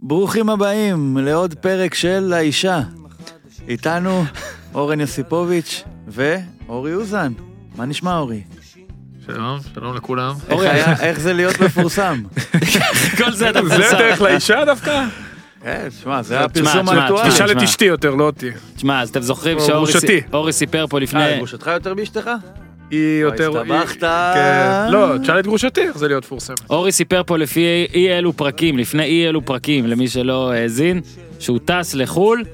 ברוכים הבאים לעוד פרק של האישה. איתנו אורן יוסיפוביץ' ואורי אוזן. מה נשמע אורי? שלום, שלום לכולם. אורי, היה- איך זה להיות מפורסם? כל זה אתה זה מפרסם. דרך לאישה דווקא? כן, שמע, זה הפרסום תשמע, האקטואלי. תשמע. תשאל את אשתי יותר, לא אותי. תשמע, אז אתם זוכרים או שאורי גרושתי. סי- אורי סיפר פה אה, לפני... גרושתך יותר מאשתך? היא לא, יותר... הסתבכת. היא- כן. לא, תשאל את גרושתי איך זה להיות מפורסמת. אורי סיפר פה לפי אי אלו פרקים, לפני אי אלו פרקים, למי שלא האזין, שהוא טס לחו"ל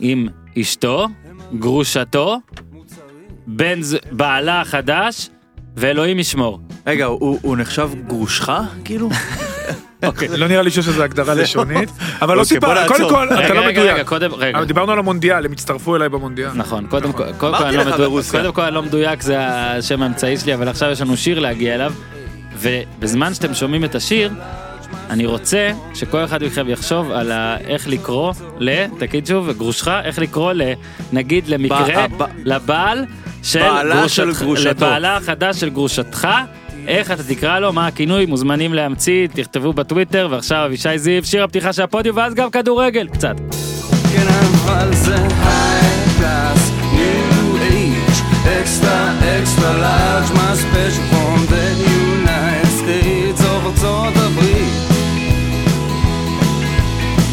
עם אשתו, גרושתו, בן ז... בעלה החדש, ואלוהים ישמור. רגע, הוא הוא נחשב גרושך? כאילו? לא נראה לי שיש איזו הגדרה לשונית, אבל לא אוקיי, בוא סיפר, קודם נעצור. כל, אתה רגע, לא רגע, רגע, מדויק. קודם, רגע. אבל דיברנו על המונדיאל, הם הצטרפו אליי במונדיאל. נכון, קודם כל, קודם כל, אמרתי אני לא לך מדויק- ברוסיה. קודם כל אני לא מדויק, זה השם האמצעי שלי, אבל עכשיו יש לנו שיר להגיע אליו, ובזמן שאתם שומעים את השיר, אני רוצה שכל אחד מכם יחשוב על ה... איך לקרוא ל... תגיד שוב, גרושך, איך לקרוא ל... נגיד למקרה, ב- ב- לבעל של בעלה של גרושתך- גרושתו. לבעלה החדש של גרושתך. איך אתה תקרא לו, מה הכינוי, מוזמנים להמציא, תכתבו בטוויטר, ועכשיו אבישי זיו, שיר הפתיחה של הפודיום, ואז גם כדורגל, קצת. כן אבל זה היי קלאס, ניו אייג' אקסטרה אקסטרה לארג' מה ספיישל פום דה יונייטד סטייטס אוף ארצות הברית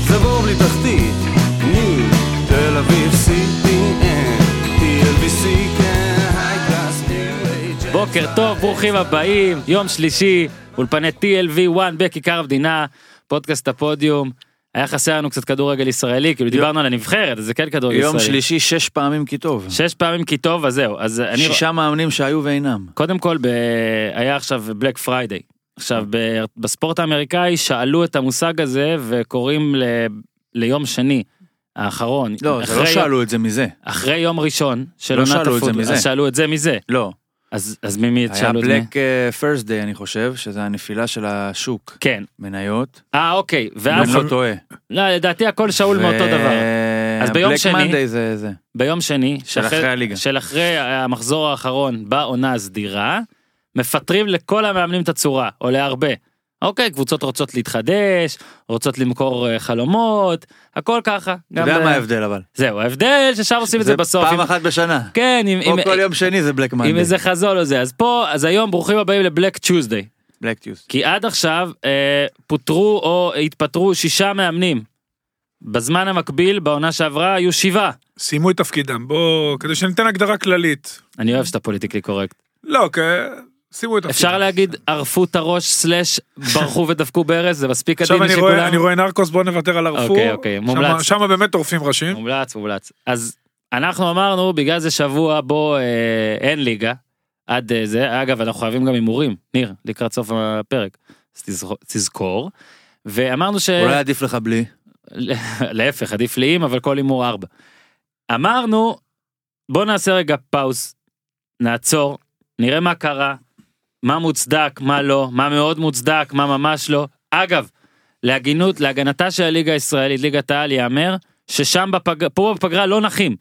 זה בור בלי תחתית, ניו תל אביב CPN, TLBC כן היי קלאס ניו אייג' בוקר טוב, ברוכים הבאים, יום שלישי, אולפני TLV 1 בכיכר המדינה, פודקאסט הפודיום. היה חסר לנו קצת כדורגל ישראלי, כאילו דיברנו על הנבחרת, אז זה כן כדורגל ישראלי. יום שלישי שש פעמים כי טוב. שש פעמים כי טוב, אז זהו. אז אני... שישה מאמנים שהיו ואינם. קודם כל, ב... היה עכשיו בלק פריידיי. עכשיו, ב... בספורט האמריקאי שאלו את המושג הזה וקוראים ל... ליום שני האחרון. לא, זה לא אחרי- שאלו את זה מזה. אחרי יום ראשון של לא עונת שאלו את זה הפוטבול, מזה. אז שאלו את זה מזה. לא. אז, אז ממי היה שאלו את זה? בלק פרסדיי אני חושב, שזה הנפילה של השוק. כן. מניות. אה, אוקיי. אם ואז... אני לא טועה. לא, לדעתי הכל שאול מאותו דבר. אז ביום שני- בלק מנדי זה זה. ביום שני, של שאחרי- אחרי הליגה. של אחרי המחזור האחרון בעונה הסדירה, מפטרים לכל המאמנים את הצורה, או להרבה. אוקיי, קבוצות רוצות להתחדש, רוצות למכור אה, חלומות, הכל ככה. אתה גם יודע ב- מה ההבדל אבל. זהו, ההבדל ששם עושים את זה בסוף. פעם עם- אחת בשנה. כן, עם- או עם- כל יום שני זה בלק עם מנדי. איזה חזון או זה. אז פה, אז היום ברוכים הבאים לבלק צ'וזדיי. בלק טיוס. כי עד עכשיו אה, פוטרו או התפטרו שישה מאמנים. בזמן המקביל, בעונה שעברה, היו שבעה. סיימו את תפקידם, בואו, כדי שניתן הגדרה כללית. אני אוהב שאתה פוליטיקלי קורקט. לא, כ... סיימו את תפקידם. אפשר להגיד ערפו את הראש סלאש ברחו ודפקו ברז זה מספיק עדין עכשיו אני בשביל רואה, כולם. אני רואה נרקוס, בואו נוותר על ערפור. אוקיי, אוקיי, מומלץ. שם באמת טורפים ראשים. מומלץ מומלץ אז אנחנו אמרנו בגלל זה שבוע בו אה, אין ליגה עד אה, זה אגב אנחנו חייבים גם הימורים ניר לקראת סוף הפרק אז תזכור- תזכור ואמרנו ש... אולי עדיף לך בלי. להפך עדיף לי אם אבל כל הימור ארבע. אמרנו בוא נעשה רגע פאוס נעצור נראה מה קרה מה מוצדק מה לא מה מאוד מוצדק מה ממש לא אגב להגינות להגנתה של הליגה הישראלית ליגת העל יאמר ששם בפג... פה בפגרה לא נחים.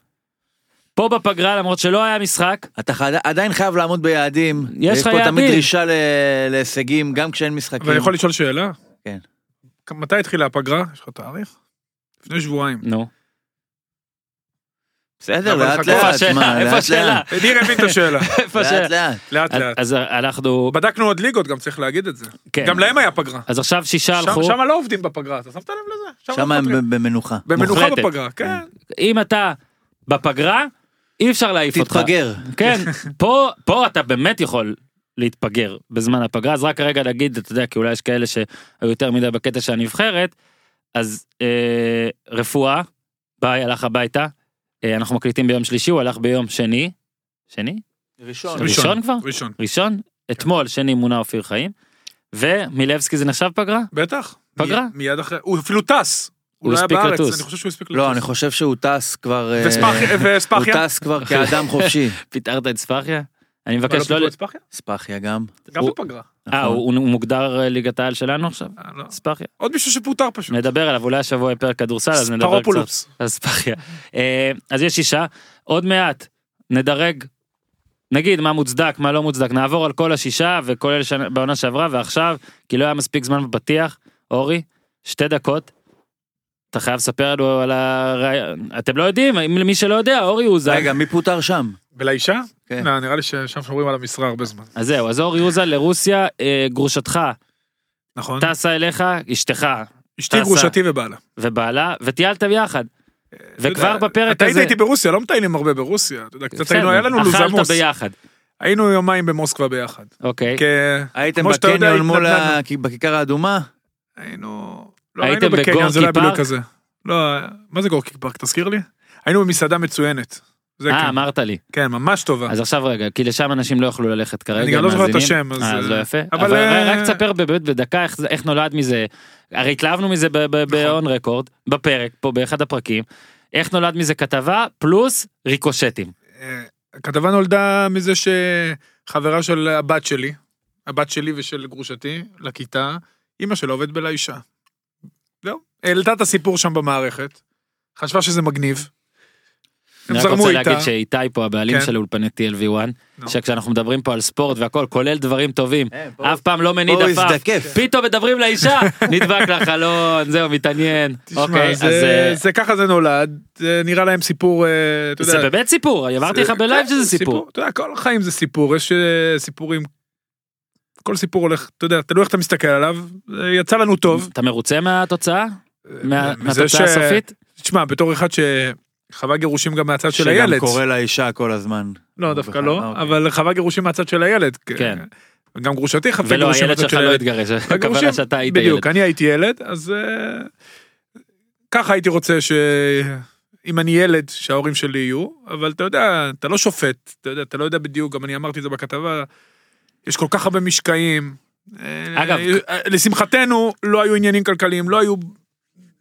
פה בפגרה למרות שלא היה משחק אתה חד- עדיין חייב לעמוד ביעדים. יש לך יש פה תמיד יעדים. דרישה ל- להישגים גם כשאין משחקים. ואני יכול לשאול שאלה? כן. מתי התחילה הפגרה? יש לך תאריך? לפני שבועיים. נו בסדר, אבל לאט חכו, איפה לאט. השאלה מה, איפה לאט השאלה לאט. ניר הבין את השאלה, איפה השאלה לאט לאט. לאט אז- לאט. אז אנחנו בדקנו עוד ליגות, גם צריך להגיד את זה. כן. גם להם היה פגרה. אז עכשיו שישה שם הלכו שם לא עובדים בפגרה, אתה שמת לב לזה? שם שם לא הם מפגרים. ב- במנוחה. במנוחה מוחלטת. בפגרה, כן. אם אתה בפגרה אי אפשר להעיף אותך. תתפגר. כן, פה, פה אתה באמת יכול להתפגר בזמן הפגרה, אז רק רגע נגיד, אתה יודע, כי אולי יש כאלה שהיו יותר מדי בקטע של הנבחרת, אז אה, רפואה, ביי, הלך הביתה, אה, אנחנו מקליטים ביום שלישי, הוא הלך ביום שני, שני? ראשון. ראשון כבר? ראשון. ראשון? אתמול, שני מונה אופיר חיים, ומילבסקי זה נחשב פגרה? בטח. פגרה. מ- מיד אחרי, הוא אפילו טס. הוא הוא לא היה הספיק בארץ, לטוס. אני חושב שהוא הספיק לטוס. לא, אני חושב שהוא טס כבר... אה, וספח- הוא וספחיה? טס כבר כאדם חופשי. פיטרת את ספאחיה? אני אבל מבקש לא לא... פיתחו ל- את ספחיה? ספאחיה גם. גם הוא- בפגרה. אה, נכון. הוא הוא מוגדר אה, ליגת העל שלנו עכשיו? אה, לא. ספאחיה? עוד מישהו שפוטר פשוט. נדבר עליו אולי השבוע יהיה פרק כדורסל אז נדבר קצת. ספרופולוס. אז פחיה. אה, אז יש שישה עוד מעט נדרג. נגיד מה מוצדק מה לא מוצדק נעבור על כל השישה וכולל שנה- בעונה שעברה ועכשיו כי לא היה מספיק זמן בפתיח אורי שתי דקות אתה חייב לספר לנו על הרעיון, אתם לא יודעים, אם למי שלא יודע, אורי אוזן. רגע, מי פוטר שם? ולאישה? כן. לא, נראה לי ששם שומרים על המשרה הרבה זמן. אז זהו, אז אורי אוזן לרוסיה, אה, גרושתך נכון? טסה אליך, אשתך אשתי טסה. גרושתי ובעלה. ובעלה, וטיילת ביחד. וכבר אה, אתה יודע, בפרק אתה היית הזה- איתי ברוסיה, לא מטיילים הרבה ברוסיה. אתה יודע, קצת היינו, היה לנו בסדר, לוזמוס. כן, אכלת ביחד, היינו יומיים במוסקבה ביחד. אוקיי. כי הייתם כמו שאתה יודע, בקניון מול ה... התנדנדנו. בכיכר האדומה? היינו... לא, הייתם היינו בקניון, זה לא היה בגורקי בדיוק פארק? כזה. לא, מה זה גורקי פארק? תזכיר לי. היינו במסעדה מצוינת. זה אה, כן. אמרת לי. כן, ממש טובה. אז עכשיו רגע, כי לשם אנשים לא יכלו ללכת כרגע. אני גם לא זוכר את המאזינים. השם, אז, אה, אז לא אה, יפה. אבל, אבל ר- אה, רק תספר באמת בדקה איך זה- איך נולד מזה. הרי התלהבנו מזה נכון. ב-on record, בפרק, פה באחד הפרקים. איך נולד מזה כתבה, פלוס ריקושטים. אה, הכתבה נולדה מזה שחברה של הבת שלי, הבת שלי ושל גרושתי, לכיתה, אימא שלה עובדת בלאישה. זהו. העלתה את הסיפור שם במערכת, חשבה שזה מגניב. הם אני רק רוצה זרמו איתה. להגיד שאיתי פה הבעלים כן. של אולפני TLV1, נו. שכשאנחנו מדברים פה על ספורט והכל, כולל דברים טובים, אה, אף פעם לא מניד פה הוא עפעף. הזדקף. פתאום מדברים לאישה, נדבק לחלון, זהו, מתעניין. תשמע, אוקיי, אז... זה- אה, זה ככה זה נולד, זה נראה להם סיפור, אה, אתה יודע. זה באמת סיפור, אני אמרתי לך זה- בלייב כן, שזה סיפור. אתה יודע, כל החיים זה סיפור, יש אה, סיפורים, כל סיפור הולך, אתה יודע, תלוי איך אתה מסתכל עליו, אה, יצא לנו טוב. אתה מרוצה מהתוצאה? מה- מזה מהתוצאה ש- הסופית? תשמע, בתור אחד שחווה גירושים גם מהצד של שגם הילד, קורא לאישה כל הזמן. לא דווקא לא, אוקיי. אבל חווה גירושים מהצד של הילד. אה, כן. אוקיי, גם גרושתי חווה ולא, גירושים הילד מהצד שלך של לא הילד. התגרש, הגירושים- הכוונה שאתה היית ילד. בדיוק, אני הייתי ילד, אז אה, ככה הייתי רוצה ש... אם אני ילד, שההורים שלי יהיו, אבל אתה יודע, אתה לא שופט, אתה יודע, אתה לא יודע בדיוק, גם אני אמרתי את זה בכתבה, יש כל כך הרבה משקעים. אה, אגב- אה, לשמחתנו, לא היו עניינים כלכליים, לא היו,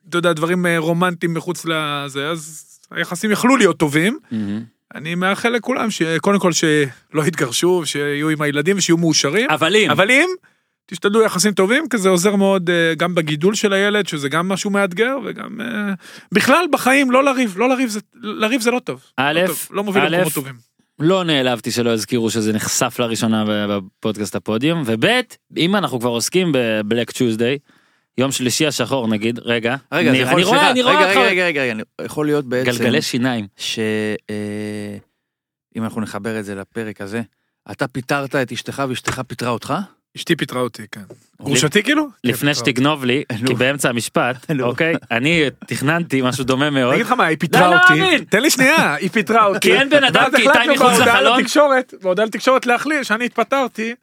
אתה יודע, דברים אה, רומנטיים מחוץ לזה, אז היחסים יכלו להיות טובים. מהמם. אני מאחל לכולם, שקודם כל שלא יתגרשו, שיהיו עם הילדים ושיהיו מאושרים. אבל אם, אה, אבל אם תשתדלו יחסים טובים כי זה עוזר מאוד אה, גם בגידול של הילד שזה גם משהו מאתגר וגם אה, בכלל בחיים לא לריב לא לריב זה לריב זה לא טוב. א', לא, טוב, לא מוביל א', למקומות טובים. לא נעלבתי שלא הזכירו שזה נחשף לראשונה בפודקאסט הפודיום, וב' אם אנחנו כבר עוסקים בבלק צ'וזדיי, יום שלישי השחור נגיד, רגע, רגע, אני- זה יכול... אני רואה, סליחה, אני רואה רגע, אותך, רגע, רגע, רגע, רגע, אני- יכול להיות בעצם... גלגלי שיניים, ש... אה, אם אנחנו נחבר את זה לפרק הזה, אתה פיטרת את אשתך ואשתך פיטרה אותך? אשתי פיטרה אותי כן. גרושתי כאילו? אוקיי. לפני כן, פיטרה אותי. שתגנוב לי, נו. כי באמצע המשפט, נו. אוקיי, אני תכננתי משהו דומה מאוד, אני אגיד לך מה היא לא, לא פיטרה אותי. מאמין. תן לי שנייה היא פיטרה אותי. כי אין בן אדם, ואז כי איתי החלטנו מחוץ בהודעה לחלון. לתקשורת בהודעה לתקשורת להכליל שאני התפטרתי.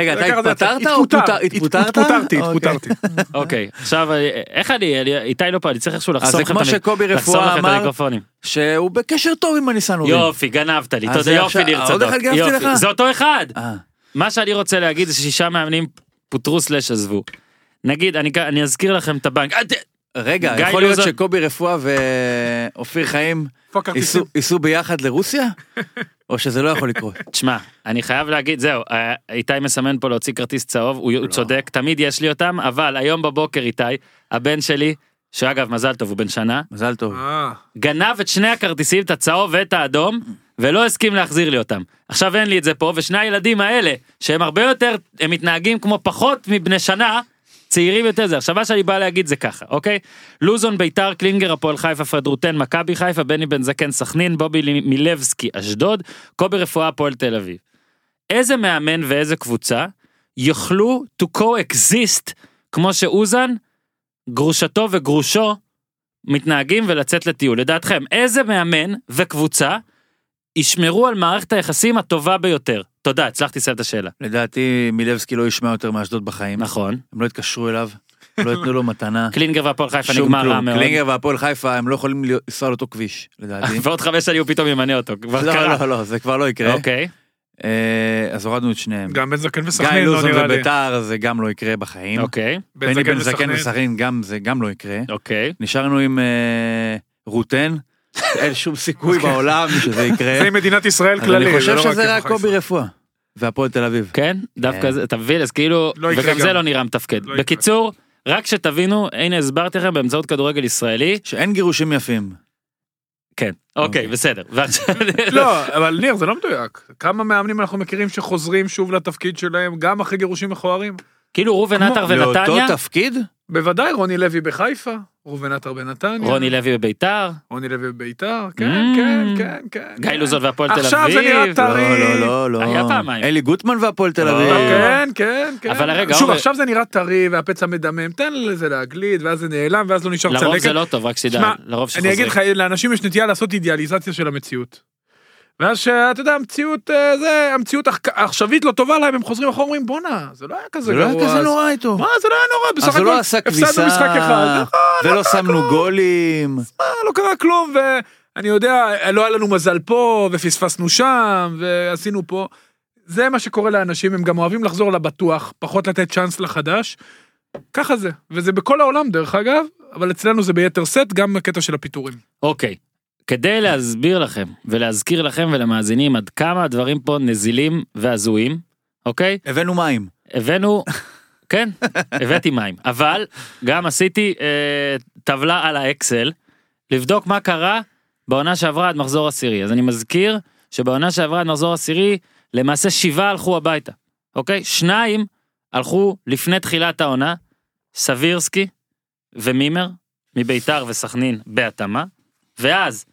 רגע, כן, אתה לקחת את זה, התפטרת או התפוטר, פוטר- התפוטרת? התפוטרתי אוקיי. התפוטרתי. אוקיי, עכשיו אה, איך אני, אני- איתי לא פה, אני צריך איכשהו אז לחסום זה לך את כמו המ- שקובי לחסום לך רפואה את אמר, המיקרופונים. שהוא בקשר טוב עם הניסנובים. יופי, גנבת לי, אז תודה, זה יופי עכשיו- ניר עוד צדוק. אחד גנבתי יופי. לך? זה אותו אחד. אה, מה שאני רוצה להגיד זה ששישה מאמנים פוטרו סלאש עזבו. נגיד, אני, אני אזכיר לכם את הבנק. אה, ת- רגע, גיא יכול להיות לוזון- שקובי רפואה ואופיר חיים פאק כרטיסים. ייסעו- ייסעו ביחד לרוסיה? או שזה לא יכול לקרות? תשמע, אני חייב להגיד, זהו, אה, איתי מסמן פה להוציא כרטיס צהוב, הוא לא. הוא צודק, תמיד יש לי אותם, אבל היום בבוקר איתי, הבן שלי, שאגב, מזל טוב, הוא בן שנה, מזל טוב. אה, גנב את שני הכרטיסים, את הצהוב ואת האדום, ולא הסכים להחזיר לי אותם. עכשיו אין לי את זה פה, ושני הילדים האלה, שהם הרבה יותר, הם מתנהגים כמו פחות מבני שנה, צעירים יותר זה. עכשיו מה שאני בא להגיד זה ככה, אוקיי? לוזון, ביתר, קלינגר, הפועל חיפה, פרד רוטן, מכבי חיפה, בני בן זקן, סכנין, בובי מילבסקי, אשדוד, קובי רפואה, הפועל תל אביב. איזה מאמן ואיזה קבוצה יוכלו to coexist כמו שאוזן, גרושתו וגרושו מתנהגים ולצאת לטיול. לדעתכם, איזה מאמן וקבוצה ישמרו על מערכת היחסים הטובה ביותר? תודה, הצלחתי לסיים את השאלה. לדעתי מילבסקי לא ישמע יותר מאשדוד בחיים. נכון. הם לא יתקשרו אליו, לא ייתנו לו מתנה. קלינגר והפועל חיפה שום נגמר רע כלום. מאוד. קלינגר והפועל חיפה הם לא יכולים להיות- לנסוע על אותו כביש, לדעתי. ועוד חמש שנים הוא פתאום ימנה אותו, כבר לא, קרה. לא, לא, זה כבר לא יקרה. אוקיי. אה, אז הורדנו את שניהם. גם בן זקן גיא וסכנין לא לוזון נראה לי. וביתר זה גם לא יקרה בחיים. אוקיי. בני בן זקן וסכנין גם זה גם לא יקרה. אוקיי. נשארנו עם אה, רוטן, אין שום סיכוי אוקיי. בעולם שזה יקרה. זה עם מדינת ישראל אז כללי. אני חושב זה לא שזה עם רק חיפה. קובי רפואה והפועל תל אביב. כן? כן. דווקא זה, אתה מבין? אז כאילו, לא יקרה וגם זה גם. לא נראה מתפקד. לא יקרה. בקיצור, רק שתבינו, הנה הסברתי לכם באמצעות כדורגל ישראלי. שאין גירושים יפים. כן. אוקיי, אוקיי. בסדר. ועכשיו- לא, אבל ניר, זה לא מדויק. כמה מאמנים אנחנו מכירים שחוזרים שוב לתפקיד שלהם, גם אחרי גירושים מכוערים? כאילו ראובן עטר ונתניה, לאותו תפקיד? בוודאי, רוני לוי בחיפה, ראובן עטר בנתניה, רוני לוי בביתר, רוני לוי בביתר, כן, Mm. כן, כן, כן. גיא כן. לוזון והפועל תל אביב. עכשיו זה נראה טרי. לא, לא, לא, לא. היה פעמיים. אלי גוטמן והפועל תל לא. אביב. כן, כן, כן. אבל רגע, שוב, עומר- עכשיו זה נראה טרי והפצע מדמם, תן לזה להגליד, ואז זה נעלם, ואז לא נשאר צלקת. לרוב זה לא טוב, רק שתדע, שמע, לרוב שחוזרים. אני אגיד לך, לאנשים יש נטייה לעשות אידיאליזציה של המציאות. ואז שאתה יודע, המציאות, אה, זה, המציאות העכ- העכשווית לא טובה להם, הם חוזרים אחורה, אומרים בואנה, זה לא היה כזה זה גרוע. לא היה כזה אז- נורא איתו. אה, מה, זה לא היה נורא, בסך אז הוא הכל לא עשה הפסדנו כביסה, משחק אחד, נכון, ולא שמנו גולים. מה, לא קרה כלום, ואני יודע, לא היה לנו מזל פה, ופספסנו שם, ועשינו פה. זה מה שקורה לאנשים, הם גם אוהבים לחזור לבטוח, פחות לתת צ'אנס לחדש. ככה זה, וזה בכל העולם דרך אגב, אבל אצלנו זה ביתר סט, גם הקטע של הפיטורים. אוקיי. כדי להסביר לכם ולהזכיר לכם ולמאזינים עד כמה הדברים פה נזילים והזויים, אוקיי? הבאנו מים. הבאנו, כן, הבאתי מים, אבל גם עשיתי אה, טבלה על האקסל, לבדוק מה קרה בעונה שעברה עד מחזור עשירי. אז אני מזכיר שבעונה שעברה עד מחזור עשירי, למעשה שבעה הלכו הביתה, אוקיי? שניים הלכו לפני תחילת העונה, סבירסקי ומימר, מביתר וסכנין בהתאמה, ואז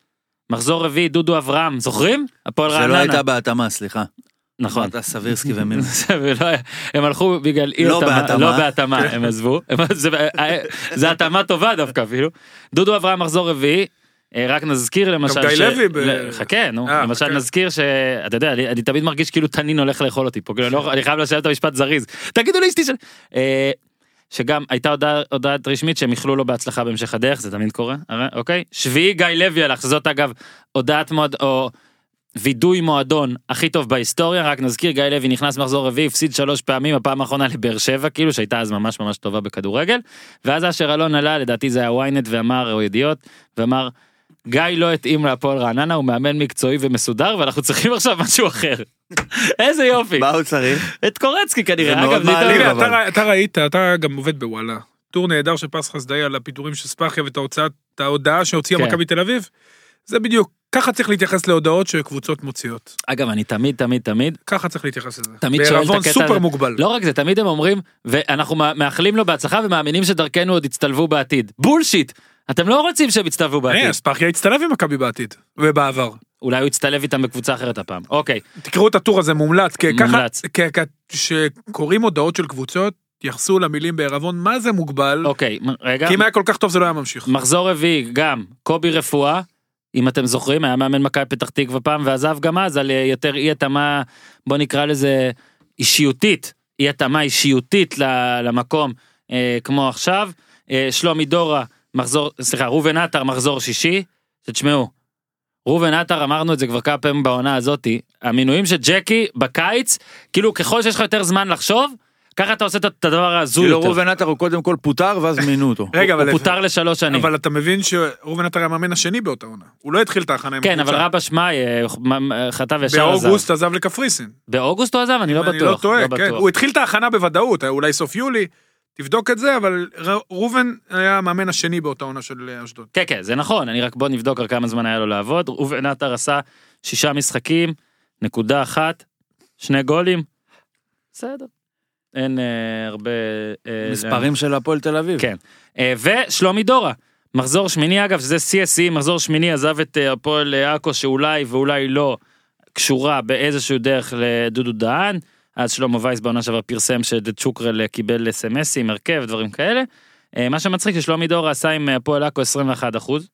מחזור רביעי דודו אברהם, זוכרים? הפועל זה רעננה. לא הייתה בהתאמה, סליחה. נכון. אמרת סבירסקי ומילנר. ולא היה- הם הלכו בגלל אי לא התאמה, בהתאמה. כן. לא בהתאמה, הם עזבו, הם- זה- אה, זה התאמה טובה דווקא אפילו. דודו אברהם מחזור רביעי, אה, רק נזכיר למשל, גיא ש- לוי ב- ל- חכה נו, אה, למשל חכה. נזכיר שאתה יודע, אני אני תמיד מרגיש כאילו תנין הולך לאכול אותי פה, כאילו, אני לא- אני חייב לסיים את המשפט זריז, תגידו לאשתי של... אה, שגם הייתה הודעה- הודעת רשמית שהם איחלו לו בהצלחה בהמשך הדרך, זה תמיד קורה, אה, אוקיי? שביעי גיא לוי הלך, זאת אגב הודעת מועד, או וידוי מועדון הכי טוב בהיסטוריה, רק נזכיר, גיא לוי נכנס מחזור רביעי, הפסיד שלוש פעמים, הפעם האחרונה לבאר שבע, כאילו שהייתה אז ממש ממש טובה בכדורגל, ואז אשר אלון עלה, לדעתי זה היה ynet ואמר, או ידיעות, ואמר, גיא לא התאים להפועל רעננה, הוא מאמן מקצועי ומסודר, ואנחנו צריכים עכשיו משהו אחר. איזה יופי, מה הוא צריך? את קורצקי זה כנראה, מאוד אגב, זה מעליב, התאמן. אבל. תראה, אתה, אתה ראית, אתה גם עובד בוואלה. טור נהדר של פס חסדאי על הפיטורים של ספאחיה ואת ההוצאת, ההודעה שהוציאה כן. מכבי תל אביב. זה בדיוק, ככה צריך להתייחס להודעות שקבוצות מוציאות. אגב, אני תמיד, תמיד, תמיד, ככה צריך להתייחס לזה. תמיד שואל את בעירבון הקטע סופר הזה. מוגבל. לא רק זה, תמיד הם אומרים, ואנחנו מא- מאחלים לו בהצלחה ומאמינים שדרכנו עוד יצטלבו בעתיד. בולשיט! אתם לא רוצים שהם יצטלבו בעתיד. אה, ספאחיה הצטלב עם מכבי בעתיד, ובעבר. אולי הוא יצטלב איתם בקבוצה אחרת הפעם. אוקיי, תקראו את הטור הזה מומלץ, כי ככה, מומלץ. כי- כי- כשקוראים הודעות של קבוצות, יחסו למילים בעירבון מה זה מוגבל, אוקיי, מ- רגע. כי אם היה כל כך טוב זה לא היה ממשיך. מחזור רביעי, גם קובי רפואה, אם אתם זוכרים, היה מאמן מכבי פתח תקווה פעם, ועזב גם אז על אה, יותר אי התאמה, בוא נקרא לזה אישיותית, אי התאמה אישיותית ל- למקום אה, כמו עכשיו. אה, שלומי דורה, מחזור, סליחה, ראובן עטר, מחזור שישי. שתשמעו, ראובן עטר אמרנו את זה כבר כמה פעמים בעונה הזאתי, המינויים של ג'קי בקיץ, כאילו ככל שיש לך יותר זמן לחשוב, ככה אתה עושה את הדבר ההזוי כאילו יותר. ראובן עטר הוא קודם כל פוטר ואז מינו אותו. רגע, הוא אבל- פוטר לשלוש שנים. אבל אתה מבין שראובן עטר היה המאמן השני באותה עונה. הוא לא התחיל את ההכנה עם כן אבל הקבוצה. רבא שמאי אה, מ- מ- חטף ישר עזב. באוגוסט עזב לקפריסין. באוגוסט הוא עזב אני לא אם בטוח. אני לא טועה, לא כן. בטוח. הוא התחיל את ההכנה בוודאות, היה אולי סוף יולי, תבדוק את זה, אבל ר- ראובן היה המאמן השני באותה עונה של אה, אשדוד. כן כן זה נכון אני רק בוא נבדוק על כמה זמן היה לו לעבוד. ראובן עטר עשה שישה משחקים נקודה אחת שני גולים. בסדר. אין אה, הרבה. אה, מספרים של הפועל תל אביב. כן. אה, ושלומי דורה. מחזור שמיני אגב שזה שיא השיאים מחזור שמיני עזב את אה, הפועל אה, עכו שאולי ואולי לא קשורה באיזשהו דרך לדודו דהן. אז שלמה וייס בעונה שעברה פרסם שדצ'וקרל אה, קיבל אסמסים הרכב דברים כאלה. אה, מה שמצחיק ששלומי דורה עשה עם אה, הפועל עכו 21 אחוז.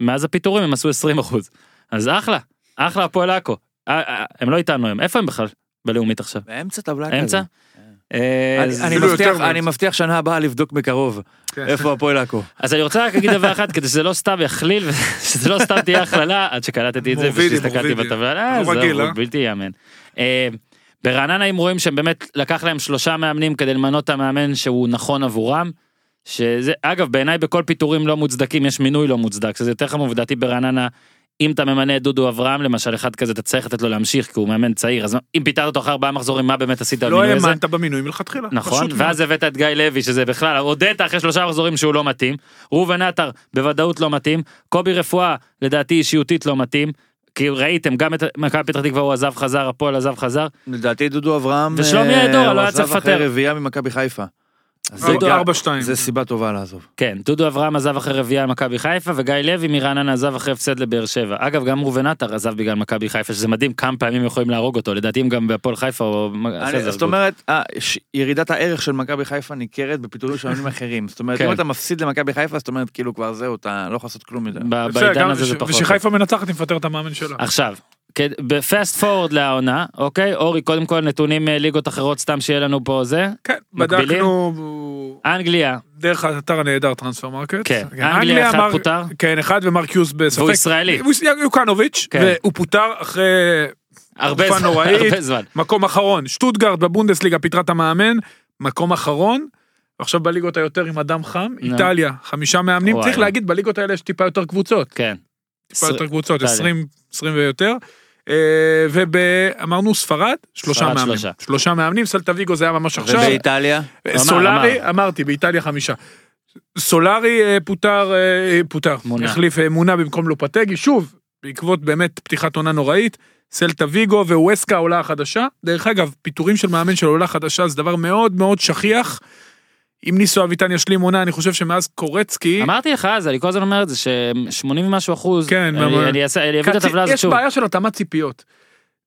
מאז הפיטורים הם עשו 20 אחוז. אז אחלה אחלה הפועל עכו. אה, אה, הם לא איתנו הם איפה הם בכלל בלאומית עכשיו. באמצע טבלה כזה. אמצע? אה, אני- אז- אני לא אפילו מבטיח- יותר אני מאמצע. מבטיח שנה הבאה לבדוק מקרוב איפה הפועל עכו. אז אני רוצה רק להגיד דבר אחד כדי שזה לא סתם יכליל ושזה לא סתם תהיה הכללה עד שקלטתי את זה מורבידי, ושהסתכלתי מורבידי. בטבלה, אה, הוא זהו, רגיל, הוא אה? בלתי ייאמן. אה, ברעננה הם רואים שהם באמת לקח להם שלושה מאמנים כדי למנות את המאמן שהוא נכון עבורם. שזה אגב בעיניי בכל פיטורים לא מוצדקים יש מינוי לא מוצדק שזה יותר חמור לדעתי ברעננה. אם אתה ממנה את דודו אברהם למשל אחד כזה אתה צריך לתת לו להמשיך כי הוא מאמן צעיר אז אם פיטרת אותו אחרי ארבעה מחזורים מה באמת עשית לא במינוי הזה? האמנת במינוי מלכתחילה. נכון, פשוט מאוד. ואז הבאת את גיא לוי שזה בכלל, הודית אחרי שלושה מחזורים שהוא לא מתאים, ראובן עטר בוודאות לא מתאים, קובי רפואה לדעתי אישיותית לא מתאים, כי ראיתם גם את מכבי פתח תקווה הוא עזב חזר, הפועל עזב חזר, לדעתי דודו אברהם... ושלומי אה, עדורה, לא הוא היה עזב צריך אחרי לפטר. רביעייה ממכבי חיפה. אז זה ארבע- גם- ארבע שתיים. זה סיבה טובה לעזוב. כן, דודו אברהם עזב אחרי רביעייה עם מכבי חיפה, וגיא לוי מרעננה עזב אחרי הפסד לבאר שבע. אגב, גם ראובן עטר עזב בגלל מכבי חיפה, שזה מדהים כמה פעמים יכולים להרוג אותו, לדעתי אם גם בהפועל חיפה או... אחרי אני- זה זאת הרגו אותו. אומרת, אה, ש- ירידת הערך של מכבי חיפה ניכרת בפיטורים של אנשים אחרים. זאת אומרת, כן. אם אתה מפסיד למכבי חיפה, זאת אומרת, כאילו כבר זהו, אתה לא יכול לעשות כלום מזה. ב- בסדר, בעידן גם הזה וש- זה פחות. ושחיפה מנצחת, היא מפטרת את המאמן שלה. עכשיו, בפאסט פורוד לעונה, אוקיי, אורי, קודם כל נתונים אה, ליגות אחרות סתם שיהיה לנו פה זה. כן, מקבילים? בדקנו אנגליה, דרך האתר הנהדר טרנספר מרקט. כן. אנגליה אחד אמר- פוטר. כן, אחד ומרק יוז בספק. והוא ישראלי. הוא ישראלי, יוקנוביץ', כן. והוא פוטר אחרי הרבה תקופה זמן, נוראית. הרבה זמן. מקום אחרון. שטוטגרד בבונדסליגה פיטרה את המאמן, מקום אחרון. עכשיו בליגות היותר עם אדם חם, נו. איטליה, חמישה מאמנים. וואי. צריך להגיד, בליגות האלה יש טיפה יותר קבוצות. כן. טיפה יותר קבוצות, איטליה. 20, 20 ויותר. אה, ואמרנו ספרד, שלושה ספרד, מאמנים. שלושה. שלושה מאמנים, סלטה ויגו זה היה ממש עכשיו. ובאיטליה? סולארי, אמר. אמרתי, באיטליה חמישה. סולארי אה, פוטר, אה, פוטר, מונה. החליף אה, מונה במקום לופטגי, שוב, בעקבות באמת פתיחת עונה נוראית, סלטה ויגו וווסקה עולה החדשה. דרך אגב, פיטורים של מאמן של עולה חדשה זה דבר מאוד מאוד שכיח. אם ניסו אביטן ישלים עונה, אני חושב שמאז קורצקי, אמרתי לך אז, אני כל הזמן אומר את זה, ש-80 ומשהו אחוז, כן, אני- אבל- אני אעשה- אני אביא את קצי- הטבלה הזאת יש שוב. בעיה של התאמת ציפיות.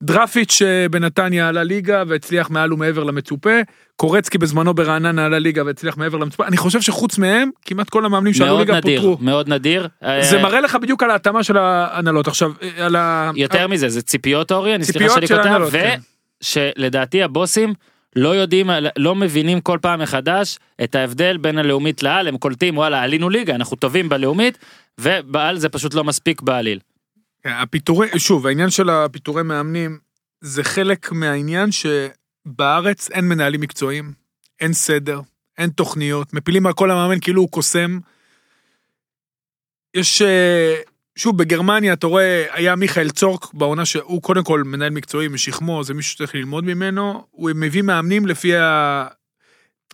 דרפיץ' אה, בנתניה עלה ליגה והצליח מעל ומעבר למצופה, קורצקי בזמנו ברעננה עלה ליגה והצליח מעבר למצופה, אני חושב שחוץ מהם, כמעט כל המאמנים שעלו מאוד ליגה נדיר, פוטרו. מאוד נדיר. אה, זה מראה לך בדיוק על ההתאמה של ההנהלות עכשיו, אה, על ה... יותר מזה, זה ציפיות אורי, אני סליחה ציפיות שאני של קוטע, הנהלות, כן. ושלדעתי הבוסים לא יודעים, לא מבינים כל פעם מחדש את ההבדל בין הלאומית לעל, הם קולטים וואלה עלינו ליגה, אנחנו טובים בלאומית, ובעל זה פשוט לא מספיק בעליל. כן, הפיטורי, שוב, העניין של הפיטורי מאמנים, זה חלק מהעניין שבארץ אין מנהלים מקצועיים, אין סדר, אין תוכניות, מפילים הכל למאמן כאילו הוא קוסם. יש, אה, שוב, בגרמניה, אתה רואה, היה מיכאל צורק בעונה שהוא קודם כל מנהל מקצועי משכמו, זה מישהו שצריך ללמוד ממנו, הוא מביא מאמנים לפי ה...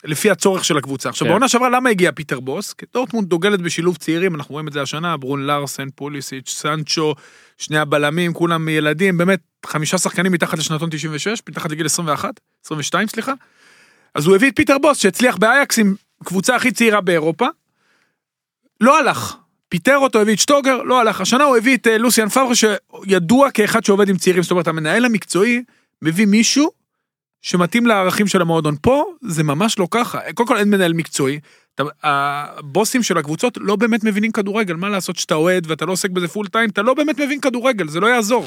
לפי הצורך של הקבוצה. עכשיו, כן. בעונה שעברה, למה הגיע פיטר בוס? כי דורטמונד דוגלת בשילוב צעירים, אנחנו רואים את זה השנה, ברון לארסן, פוליסיץ', סנצ'ו, שני הבלמים, כולם ילדים, באמת, חמישה שחקנים מתחת לשנתון 96, מתחת לגיל 21, 22, סליחה. אז הוא הביא את פיטר בוס, שהצליח באייקס עם קבוצה הכי צעירה באירופה. לא הלך. פיטר אותו, הביא את שטוגר, לא הלך. השנה הוא הביא את אה, לוסיאן פאברה, שידוע כאחד שעובד עם צעירים, זאת אומרת, המנהל המקצועי מביא מישהו שמתאים לערכים של המועדון. פה זה ממש לא ככה. קודם כל אין מנהל מקצועי. אתה- הבוסים של הקבוצות לא באמת מבינים כדורגל, מה לעשות שאתה אוהד ואתה לא עוסק בזה פול טיים, אתה לא באמת מבין כדורגל, זה לא יעזור.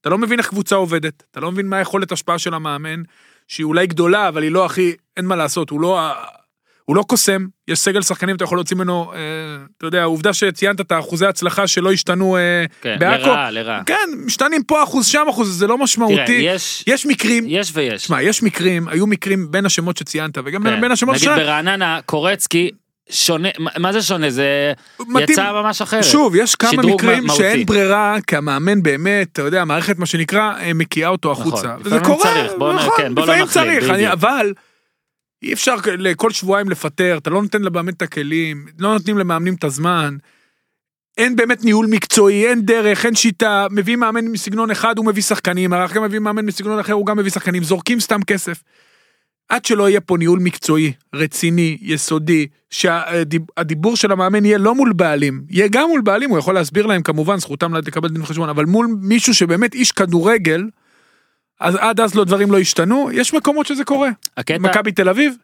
אתה לא מבין איך קבוצה עובדת, אתה לא מבין מה היכולת השפעה של המאמן, שהיא אולי גדולה, אבל היא לא הכי, אין מה לעשות, הוא לא, ה- הוא לא קוסם, יש סגל שחקנים, אתה יכול להוציא ממנו, אה, אתה יודע, העובדה שציינת את האחוזי ההצלחה שלא השתנו אה, כן, בעכו, לרעה, לרעה. כן, משתנים פה אחוז, שם אחוז, זה לא תראה, משמעותי. יש, יש מקרים, יש ויש. תשמע, יש מקרים, היו מקרים בין השמות שציינת, וגם כן. בין השמות נגיד שציינת, ברעננה, קורצקי, שונה, מה- מה זה שונה? זה מתאים. יצא ממש אחרת. שוב, יש כמה שדרוג מקרים מהותי. שאין ברירה, כי המאמן באמת, אתה יודע, המערכת, מה שנקרא, אה, מקיאה אותו החוצה. וזה לפעמים קורה, צריך, בוא נ- נכון, כן, בוא לא לפעמים נכליל, צריך, אני- בדיוק. אבל אי אפשר כ- כל שבועיים לפטר, אתה לא נותן למאמן את הכלים, לא נותנים למאמנים את הזמן. אין באמת ניהול מקצועי, אין דרך, אין שיטה, מביא מאמן מסגנון אחד, הוא מביא שחקנים, אחר כך מביא מאמן מסגנון אחר, הוא גם מביא שחקנים, זורקים סתם כסף. עד שלא יהיה פה ניהול מקצועי, רציני, יסודי, שהדיבור של המאמן יהיה לא מול בעלים, יהיה גם מול בעלים, הוא יכול להסביר להם כמובן, זכותם לקבל דין וחשבון, אבל מול מישהו שבאמת איש כדורגל, אז עד אז לא דברים לא השתנו, יש מקומות שזה קורה. הקטע, מכבי תל אביב,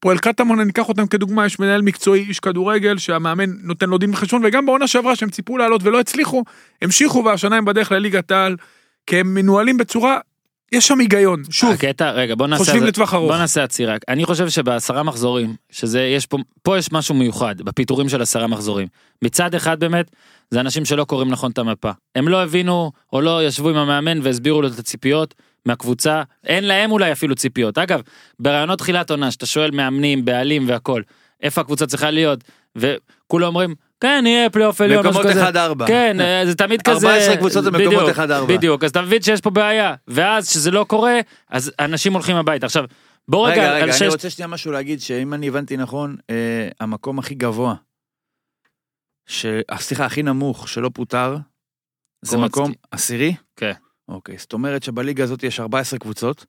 פועל קטמון, אני אקח אותם כדוגמה, יש מנהל מקצועי, איש כדורגל, שהמאמן נותן לו דין וחשבון, וגם בעונה שעברה שהם ציפו לעלות ולא הצליחו, המשיכו והשנה הם בדרך לליגת העל, כי הם מנוהלים בצורה, יש שם היגיון, שוב, הקטע, רגע, בוא נעשה... חושבים זה- לטווח ארוך. בוא נעשה עצירה. אני חושב שבעשרה מחזורים, שזה, יש פה, פה יש משהו מיוחד, בפיטורים של עשרה מחזורים. מצד אחד באמת, זה אנשים שלא קוראים נכון את המפה. הם לא הבינו, או לא ישבו עם המאמן והסבירו לו את הציפיות מהקבוצה. אין להם אולי אפילו ציפיות. אגב, ברעיונות תחילת עונה, שאתה שואל מאמנים, בעלים והכל, איפה הקבוצה צריכה להיות, וכולם אומרים, כן, יהיה פלייאוף עליון, מקומות משהו כזה." 1-4. כן, אה, זה תמיד כזה... 14 קבוצות הם מקומות 1-4. בדיוק, בדיוק, אז אתה מבין שיש פה בעיה. ואז, כשזה לא קורה, אז אנשים הולכים הביתה. עכשיו, בוא רגע, רגע, על רגע, שש- אני רוצה שנייה משהו להגיד, שאם אני הבנתי נכון, אה, המקום הכי גבוה, ש- אה, סליחה, הכי נמוך שלא פוטר, זה קורצקי. מקום עשירי? כן. אוקיי, זאת אומרת שבליגה הזאת יש 14 קבוצות,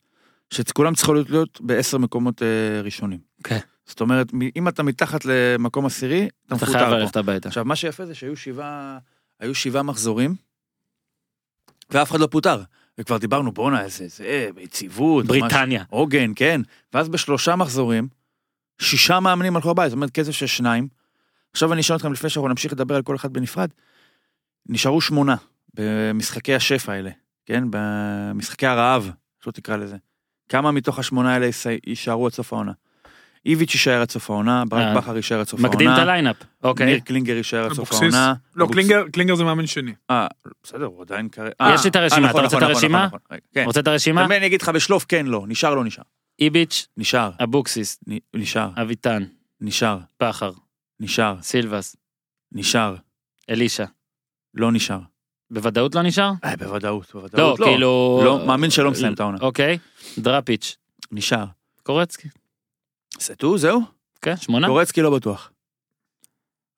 שכולם צריכות להיות בעשר מקומות אה, ראשונים. כן. זאת אומרת, מ- אם אתה מתחת למקום עשירי, אתה אתה חייב מפוטר פה. ללכת הביתה. עכשיו, מה שיפה זה שהיו שבעה, היו שבעה מחזורים, ואף אחד לא פוטר. וכבר דיברנו, בואנה, איזה, אה, זה, יציבות, משהו- בריטניה. עוגן, כן. ואז בשלושה מחזורים, שישה מאמנים הלכו הביתה, זאת אומרת, קצב של שניים. עכשיו אני אשאל אתכם, לפני שאנחנו נמשיך לדבר על כל אחד בנפרד, נשארו שמונה במשחקי השפע האלה, כן? במשחקי הרעב, פשוט תקרא לזה. כמה מתוך השמונה האלה יישא- יישארו עד סוף העונה? איביץ' יישאר עד סוף העונה, אה. ברק בכר יישאר עד סוף העונה. מקדים את הליינאפ. ניר אוקיי. קלינגר יישאר עד סוף אבוקסיס. העונה. לא, אבוקס- קלינגר, קלינגר זה מאמן שני. אה, בסדר, הוא עדיין כרגע... אה, נכון, יש לי את הרשימה, אתה רוצה את הרשימה? כן. רוצה את הרשימה? באמת, אני אגיד לך בשלוף כן, לא. נשאר, לא נשאר. איביץ', נשאר, אבוקסיס, נ- נשאר, אביטן, נשאר, בכר, נשאר, סילבס, נשאר, אלישע. לא נשאר. בוודאות לא נשאר? אה, בוודאות, לא, בוודאות כאילו... לא, מאמין שלא מסיים את העונה. אוקיי. דראפיץ', נשאר. קורצקי. סטו, זהו? כן, שמונה? קורצקי לא בטוח.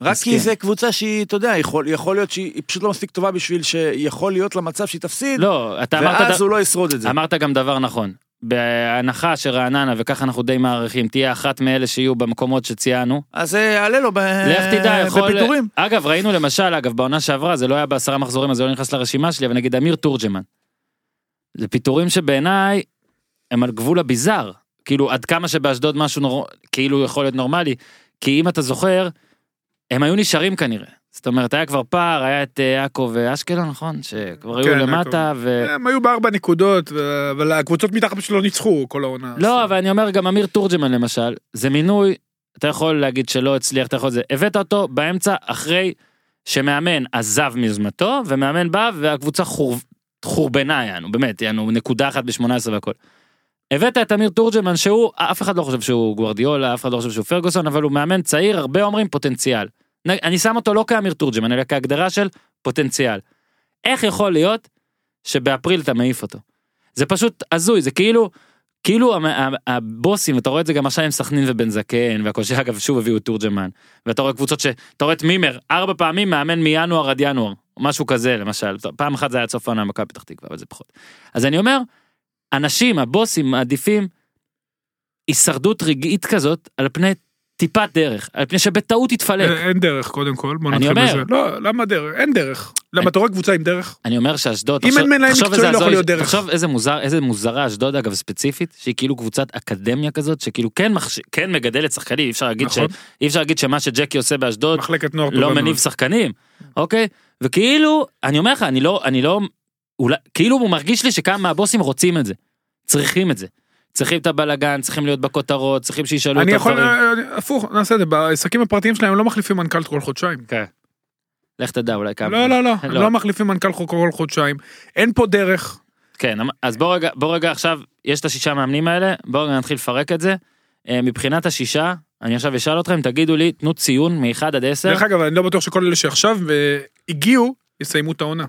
רק מסכים. כי זו קבוצה שהיא, אתה יודע, יכול, יכול להיות שהיא היא פשוט לא מספיק טובה בשביל שיכול להיות למצב שהיא תפסיד, לא, אתה אמרת... ואז ד- הוא לא ישרוד את זה. אמרת גם דבר נכון. בהנחה שרעננה, וככה אנחנו די מעריכים, תהיה אחת מאלה שיהיו במקומות שציינו. אז זה יעלה לו ב... לך תדע, יכול... אה, בפיטורים. אגב, ראינו למשל, אגב, בעונה שעברה, זה לא היה בעשרה מחזורים, אז זה לא נכנס לרשימה שלי, אבל נגיד אמיר תורג'מן. זה פיטורים שבעיניי הם על גבול הביזאר. כאילו, עד כמה שבאשדוד משהו נור... כאילו יכול להיות נורמלי, כי אם אתה זוכר, הם היו נשארים כנראה. זאת אומרת, היה כבר פער, היה את אה, יעקב ואשקלון, נכון? שכבר היו כן, למטה, ו... הם היו בארבע נקודות, ו- אבל הקבוצות מתחת פשוט לא ניצחו כל העונה. לא, אבל אני אומר גם אמיר תורג'מן למשל, זה מינוי, אתה יכול להגיד שלא הצליח, אתה יכול זה. הבאת אותו באמצע אחרי שמאמן עזב מיוזמתו, ומאמן בא והקבוצה חור... חורבנה, יענו, באמת, יענו, נקודה אחת ב-18 והכל. הבאת את אמיר תורג'מן שהוא, אף אחד לא חושב שהוא גוורדיולה, אף אחד לא חושב שהוא פרגוסון, אבל הוא מאמן צעיר, הרבה אומרים פוטנציאל. נ- אני שם אותו לא כאמיר תורג'מן, אלא כהגדרה של פוטנציאל. איך יכול להיות שבאפריל אתה מעיף אותו? זה פשוט הזוי, זה כאילו, כאילו המ- ה- הבוסים, אתה רואה את זה גם עכשיו עם סכנין ובן זקן, והכל שאגב שוב הביאו את תורג'מן, ואתה רואה קבוצות ש... אתה רואה את מימר, ארבע פעמים מאמן מינואר עד ינואר, משהו כזה למשל, פעם אחת זה היה עד סוף העונה במכבי פתח תקווה, אבל זה פחות. אז אני אומר, אנשים, הבוסים מעדיפים הישרדות רגעית כזאת על פני טיפת דרך, על פני שבטעות תתפלק. אה, אין דרך קודם כל, בוא אני נתחיל אומר. בזה. לא, למה דרך? אין דרך. למה אתה רואה קבוצה עם דרך? אני אומר שאשדוד, אם תחשוב- אין מנהל תחשוב מקצועי, איזה לא יכול הזוי- להיות דרך. תחשוב איזה מוזר, איזה מוזרה אשדוד אגב ספציפית, שהיא כאילו קבוצת אקדמיה כזאת, שכאילו כן מחש- כן מגדלת שחקנים, אי אפשר להגיד ש- נכון. אי אפשר להגיד שמה שג'קי עושה באשדוד מחלקת נוער לא מניב שחקנים, אוקיי? וכאילו, אני אומר לך, אני לא, אני לא, אולי, כאילו הוא מרגיש לי שכמה מהבוסים רוצים את זה, צריכים את זה. צריכים את הבלגן, צריכים להיות בכותרות, צריכים שישאלו אני אותם יכול, דברים. אה, הפוך, נעשה את זה, בעסקים הפרטיים שלהם לא מחליפים מנכ"ל כל חודשיים. לך תדע אולי כמה. לא, לא, לא, הם לא. לא מחליפים מנכ"ל כל חודשיים. אין פה דרך. כן, אמ- אז בוא רגע, בוא רגע עכשיו, יש את השישה מאמנים האלה, בואו רגע נתחיל לפרק את זה. אה, מבחינת השישה, אני עכשיו אשאל אתכם, תגידו לי, תנו ציון מ-1 עד 10. דרך אגב, אני לא בטוח שכל אלה שעכשיו אה, הגיעו, יסיימו את העונה.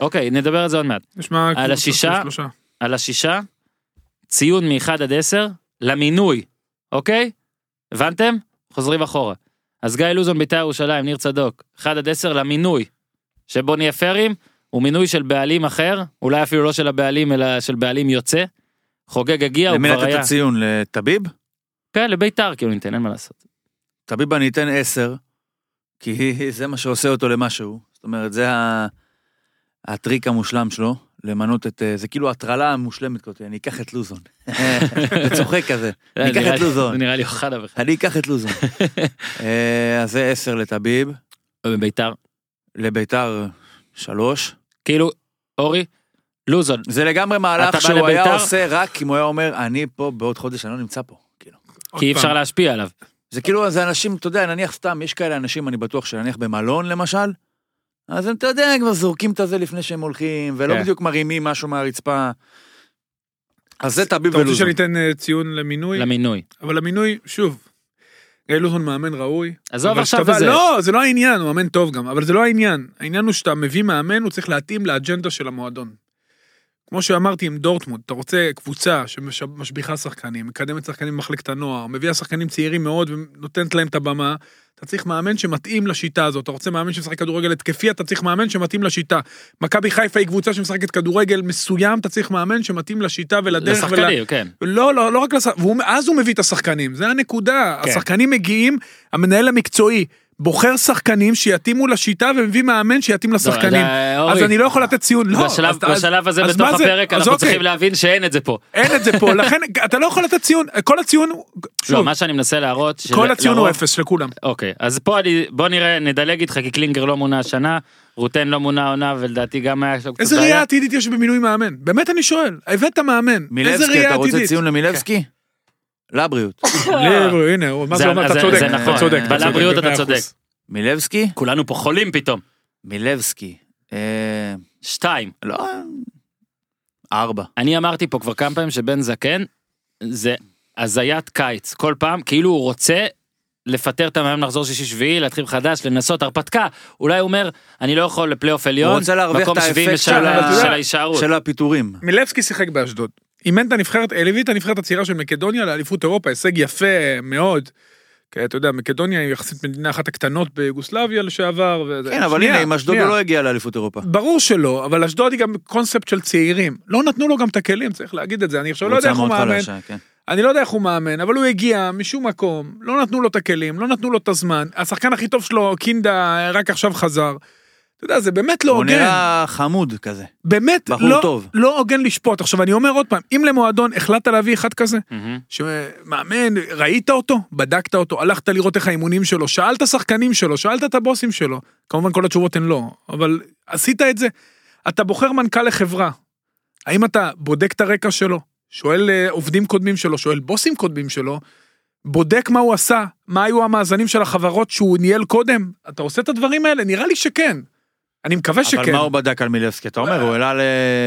אוקיי, נדבר על זה עוד מעט. נשמע... קבוצה של השישה? שלושה. על השישה, ציון מ-1 עד 10 למינוי, אוקיי? הבנתם? חוזרים אחורה. אז גיא לוזון, בית"ר ירושלים, ניר צדוק, 1 עד 10 למינוי, שבו נהיה פיירים, הוא מינוי של בעלים אחר, אולי אפילו לא של הבעלים, אלא של בעלים יוצא. חוגג הגיע, הוא למי כבר לתת היה. את הציון? לטביב? כן, לבית"ר כאילו ניתן, אין מה לעשות. טביב אני אתן 10, כי זה מה שעושה אותו למשהו. זאת אומרת, זה ה- הטריק המושלם שלו, למנות את... אה, זה כאילו הטרלה המושלמת כזאת, אני אקח את לוזון. זה צוחק כזה, אני אקח אה, נראה את לי- לוזון. זה נראה לי אוחנה בכלל. אני אקח את לוזון. אה, אז זה 10 לטביב, אה, בביתר. לביתר 3. כאילו, אורי, לוזון. זה לגמרי אתה בא מהלך שהוא היה לביתר? עושה רק אם הוא היה אומר, אני פה בעוד חודש, אני לא נמצא פה. כאילו. עוד כי אי אפשר פעם. להשפיע עליו. זה כאילו, זה אנשים, אתה יודע, נניח סתם, יש כאלה אנשים, אני בטוח שנניח במלון למשל, אז הם, אתה יודע, כבר זורקים את הזה לפני שהם הולכים, ולא כן. בדיוק מרימים משהו מהרצפה. אז זה טביב אתה רוצה ולוזון. שאני אתן אה, ציון למינוי? למינוי. אבל המינוי, שוב, גיא לוזון מאמן ראוי. עזוב אבל עכשיו כשאתה בא- את זה. לא, זה לא העניין, הוא מאמן טוב גם, אבל זה לא העניין. העניין הוא שאתה מביא מאמן, הוא צריך להתאים לאג'נדה של המועדון. כמו שאמרתי עם דורטמונד, אתה רוצה קבוצה שמשביחה שחקנים, מקדמת שחקנים במחלקת הנוער, מביאה שחקנים צעירים מאוד ונותנת להם את הבמה, אתה צריך מאמן שמתאים לשיטה הזאת, אתה רוצה מאמן שמשחק כדורגל התקפי, אתה צריך מאמן שמתאים לשיטה. מכבי חיפה היא קבוצה שמשחקת כדורגל מסוים, אתה צריך מאמן שמתאים לשיטה ולדרך ול... לשחקנים, כן. לא, לא, לא רק לשחק... ואז הוא מביא את השחקנים, זה הנקודה. כן. כן. השחקנים מגיעים, המנהל המקצועי בוחר שחקנים שיתאימו לשיטה ומביא מאמן שיתאים לשחקנים. אה, אז אורי, אני לא יכול לתת ציון, לא. בשלב, אז- אז- בשלב הזה אז בתוך מה זה? הפרק אז אנחנו אוקיי, צריכים להבין שאין את זה פה. אין את זה פה, לכן אתה לא יכול לתת ציון, כל הציון, הוא- לא, שוב, מה לא. שאני מנסה להראות, שזה כל הציון הוא לרוב- אפס לכולם. אוקיי, אז פה אני, בוא נראה, נדלג איתך, כי קלינגר לא מונה השנה, רוטן לא מונה העונה, ולדעתי גם היה לו קצת איזה ראייה עתידית יש במינוי מאמן? באמת אני שואל, הבאת מאמן, איזה מילבסקי, ראייה אתה רוצה עתידית? כן. ציון למילבסקי? לבריאות. לא, הנה, הוא- מה זה- זה אומר, זה- אתה צודק, זה אתה נכון. צודק, בלם צודק, בריאות אתה במאה אחוז. צודק. מילבסקי? כולנו פה חולים פתאום. מילבסקי. אה, שתיים. לא... ארבע. אני אמרתי פה כבר כמה פעמים שבן זקן זה הזיית קיץ כל פעם כאילו הוא רוצה לפטר את המאמן לחזור שישי שביעי להתחיל חדש לנסות הרפתקה אולי הוא אומר אני לא יכול לפלייאוף עליון הוא רוצה להרוויח מקום את שביעי האפקט ושל של ה- ה- של ההישארות של הפיטורים. מילבסקי שיחק באשדוד. אימן את הנבחרת, הביא את הנבחרת הצעירה של מקדוניה לאליפות אירופה, הישג יפה מאוד. כי אתה יודע, מקדוניה היא יחסית מדינה אחת הקטנות ביוגוסלביה לשעבר. וזה- כן, אבל שנייה, הנה, עם אשדוד שנייה. הוא לא הגיע לאליפות אירופה. ברור שלא, אבל אשדוד היא גם קונספט של צעירים. לא נתנו לו גם את הכלים, צריך להגיד את זה. אני עכשיו לא יודע איך הוא קבוצה מאוד מאמן, חלשה, כן. אני לא יודע איך הוא מאמן, אבל הוא הגיע משום מקום, לא נתנו לו את הכלים, לא נתנו לו את הזמן. השחקן הכי טוב שלו, קינדה, רק עכשיו חזר. אתה יודע, זה באמת לא הוא הוגן. נראה חמוד כזה. באמת בחור לא, טוב. לא הוגן לשפוט. עכשיו אני אומר עוד פעם, אם למועדון החלטת להביא אחד כזה, מהמם. שמאמן, ראית אותו, בדקת אותו, הלכת לראות איך האימונים שלו, שאלת שחקנים שלו, שאלת את הבוסים שלו, כמובן כל התשובות הן לא, אבל עשית את זה. אתה בוחר מנכ"ל לחברה, האם אתה בודק את הרקע שלו, שואל אה, עובדים קודמים שלו, שואל בוסים קודמים שלו, בודק מה הוא עשה, מה היו המאזנים של החברות שהוא ניהל קודם, אתה עושה את הדברים האלה? נראה לי שכן. אני מקווה שכן. אבל מה הוא בדק על מילבסקי? אתה אומר, הוא העלה ל...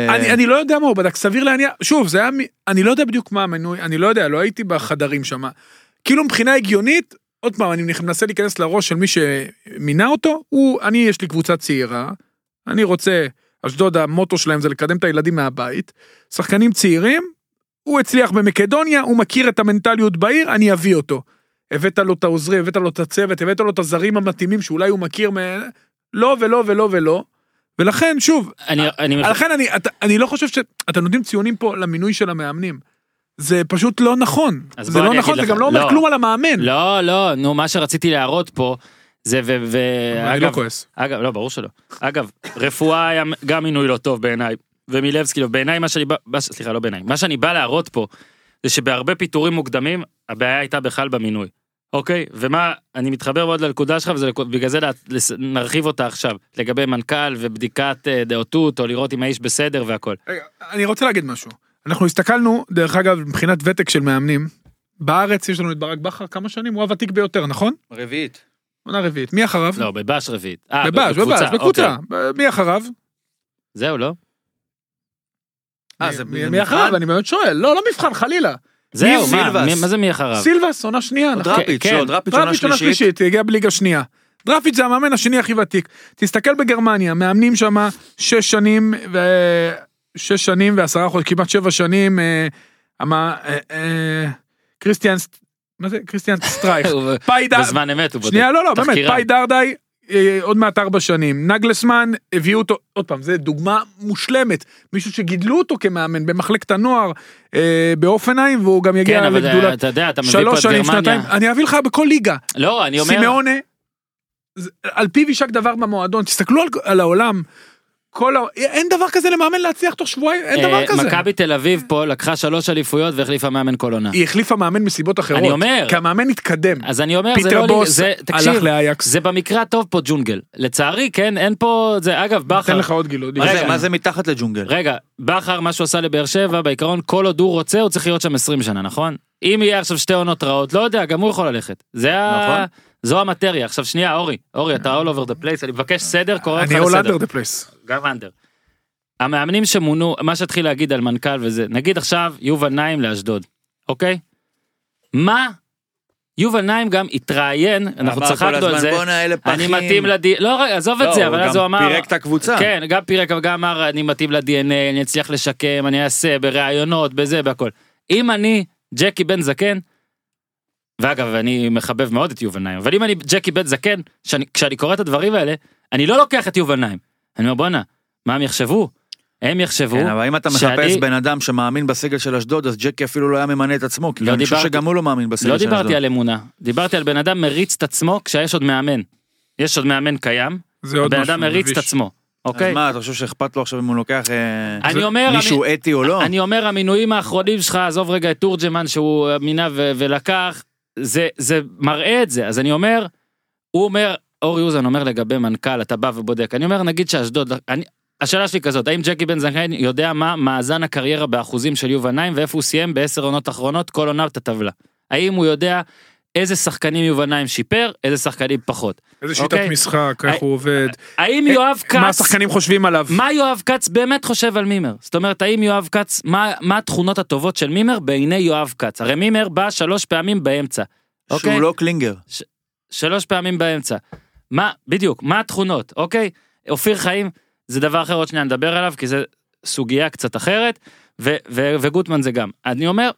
אני, אני לא יודע מה הוא בדק, סביר להניח, שוב, זה היה, מ- אני לא יודע בדיוק מה המנוי, אני לא יודע, לא הייתי בחדרים שם. כאילו מבחינה הגיונית, עוד פעם, אני מנסה להיכנס לראש של מי שמינה אותו, הוא, אני, יש לי קבוצה צעירה, אני רוצה, אשדוד, המוטו שלהם זה לקדם את הילדים מהבית, שחקנים צעירים, הוא הצליח במקדוניה, הוא מכיר את המנטליות בעיר, אני אביא אותו. הבאת לו את העוזרים, הבאת לו את הצוות, הבאת לו את הזרים המתאימים שאולי הוא מכיר מ... לא ולא ולא ולא. ולכן, שוב, אה, אני אני לכן אני, אתה, אני לא חושב שאתם נותנים ציונים פה למינוי של המאמנים. זה פשוט לא נכון. אז זה בוא לא אני נכון, אגיד זה לך, גם לא אומר לא. כלום על המאמן. לא לא נו מה שרציתי להראות פה זה ו... ו- אני לא אה, אגב, כועס. אגב, לא, ברור שלא. אגב, רפואה היה גם מינוי לא טוב בעיניי, ומילבסקי לא. בעיניי מה שאני בא, מה ש- סליחה, לא בעיניי, מה שאני בא להראות פה, זה שבהרבה פיטורים מוקדמים, הבעיה הייתה בכלל במינוי. אוקיי? ומה, אני מתחבר מאוד לנקודה שלך, ובגלל זה לת- לס- נרחיב אותה עכשיו, לגבי מנכ"ל ובדיקת אה, דעותות, או לראות אם האיש בסדר והכל. רגע, אני רוצה להגיד משהו. אנחנו הסתכלנו, דרך אגב, מבחינת ותק של מאמנים, בארץ יש לנו את ברק בכר כמה שנים, הוא הוותיק ביותר, נכון? רביעית. עונה רביעית. מי אחריו? לא, בבאש רביעית. אה, בבאז, בבאז, אוקיי. בקבוצה. מי אחריו? זהו, לא? אה, מי- זה- מי- זה מי אחריו? מבחן? אני באמת שואל. לא, לא מבחן, חלילה. זהו, מה, סילבס? מי- מה זה מי אחריו? סילבס, עונה שנייה. אה. עוד נכון? דראפיץ', כן. לא, דראפיץ' עונה דראפיץ' עונה שלישית. שלישית, הגיע בליגה שנייה. דראפיץ' זה המאמן השני הכי ותיק. תסתכל בגרמניה, מאמנים שם שש שנים ו... שש שנים ועשרה חודשים, כמעט שבע שנים, אה, המה- אה, אה, קריסטיאן, סט- מה זה? קריסטיאן סטרייך. הוא- פיידה, בזמן אמת הוא בודק. שנייה, לא, לא, באמת, תחקירן. פאי דרדאי, אה, עוד מעט ארבע שנים. נגלסמן, הביאו אותו, עוד פעם, זו דוגמה מושלמת. מישהו שגידלו אותו כמאמן במחלקת הנוער אה, באופנהיים, והוא גם כן, יגיע אבל לגדולה. אה, אתה יודע, אתה מביא פה שלוש את שנים, גרמניה. שנתיים, אני אביא לך בכל ליגה. לא, אני אומר... סימאונה, זה- על פיו יישק דבר במועדון, תסתכלו על, על העולם. כל ה... אין דבר כזה למאמן להצליח תוך שבועיים, אין דבר אה, כזה. מכבי תל אביב פה לקחה שלוש אליפויות והחליפה מאמן כל עונה. היא החליפה מאמן מסיבות אחרות. אני אומר. כי המאמן התקדם. אז אני אומר, זה פיטר לא... בוס זה, תקשיב, הלך לאייקס. זה במקרה הטוב פה ג'ונגל. לצערי, כן, אין פה... זה, אגב, תן בכר... לך עוד גילוי. מה זה- רגע. מה זה מתחת לג'ונגל? רגע, בכר, מה שהוא עשה לבאר שבע, בעיקרון, כל עוד הוא רוצה, הוא צריך להיות שם 20 שנה, נכון? אם יהיה עכשיו שתי עונות רעות, לא יודע, גם הוא יכול ללכת. זה ה... נכון. זו המטריה. עכשיו, שנייה, אורי, אורי, אתה all over the place, אני מבקש סדר, קורא אותך אני all לסדר. under the place. גם אנדר. המאמנים שמונו, מה שהתחיל להגיד על מנכ"ל וזה, נגיד עכשיו יובל נעים לאשדוד, אוקיי? מה יובל נעים גם התראיין, אנחנו אמר כל צחקנו על הזמן, זה, "בואנה, אלה אני פחים." מתאים לד... לא, רגע, עזוב לא, את זה, הוא אבל אז גם הוא אמר... פירק את הקבוצה. כן, גם פירק, אבל גם אמר, אני מתאים ל-DNA, אני אצליח לשקם, אני אעשה, בראיונות, בזה, בהכל. אם אני ג'קי בן זקן, ואגב, אני מחבב מאוד את יובל נעים, אבל אם אני ג'קי בן זקן, שאני, כשאני קורא את הדברים האלה, אני לא לוקח את יובל נעים. אני אומר, בואנה, מה הם יחשבו? הם יחשבו כן, אבל אם אתה מחפש שאני- בן אדם שמאמין בסגל של אשדוד, אז ג'קי אפילו לא היה ממנה את עצמו, כי לא אני חושב דיברתי- שגם הוא לא מאמין בסגל לא של אשדוד. דיברתי על אמונה, דיברתי על בן אדם מריץ את עצמו כשיש עוד מאמן. יש עוד מאמן קיים, זה עוד הבן משהו אדם מריץ את מביש. עצמו, אז אוקיי? מה, אתה חושב שאכפת לו עכשיו אם הוא לוקח אה, אני אומר, מישהו אתי או לא? המ- אני אומר המינויים האחרונים שלך, עזוב רגע את תורג'מן שהוא מינה ו- ולקח, זה- זה מראה את זה, אז אני אומר, הוא אומר, אורי אוזן אומר לגבי מנכ"ל, אתה בא ובודק, אני אומר נגיד שאשדוד, אני- השאלה שלי כזאת, האם ג'קי בן זכאי יודע מה מאזן הקריירה באחוזים של יובל נעים ואיפה הוא סיים בעשר עונות אחרונות, כל עונה את הטבלה. האם הוא יודע איזה שחקנים יובל נעים שיפר, איזה שחקנים פחות. איזה שיטת אוקיי. משחק, איך אה, הוא עובד, האם אה, יואב מה כץ, השחקנים חושבים עליו. מה יואב כץ באמת חושב על מימר? זאת אומרת, האם יואב כץ, מה, מה התכונות הטובות של מימר בעיני יואב כץ? הרי מימר בא שלוש פעמים באמצע. אוקיי? שהוא לא קלינגר. שלוש פעמים באמצע. מה, בדיוק, מה התכונות, אוקיי? אופיר חיים זה דבר אחר, עוד שנייה נדבר עליו, כי זה סוגיה קצת אחרת, ו- ו- וגוטמן זה גם. אני אומר,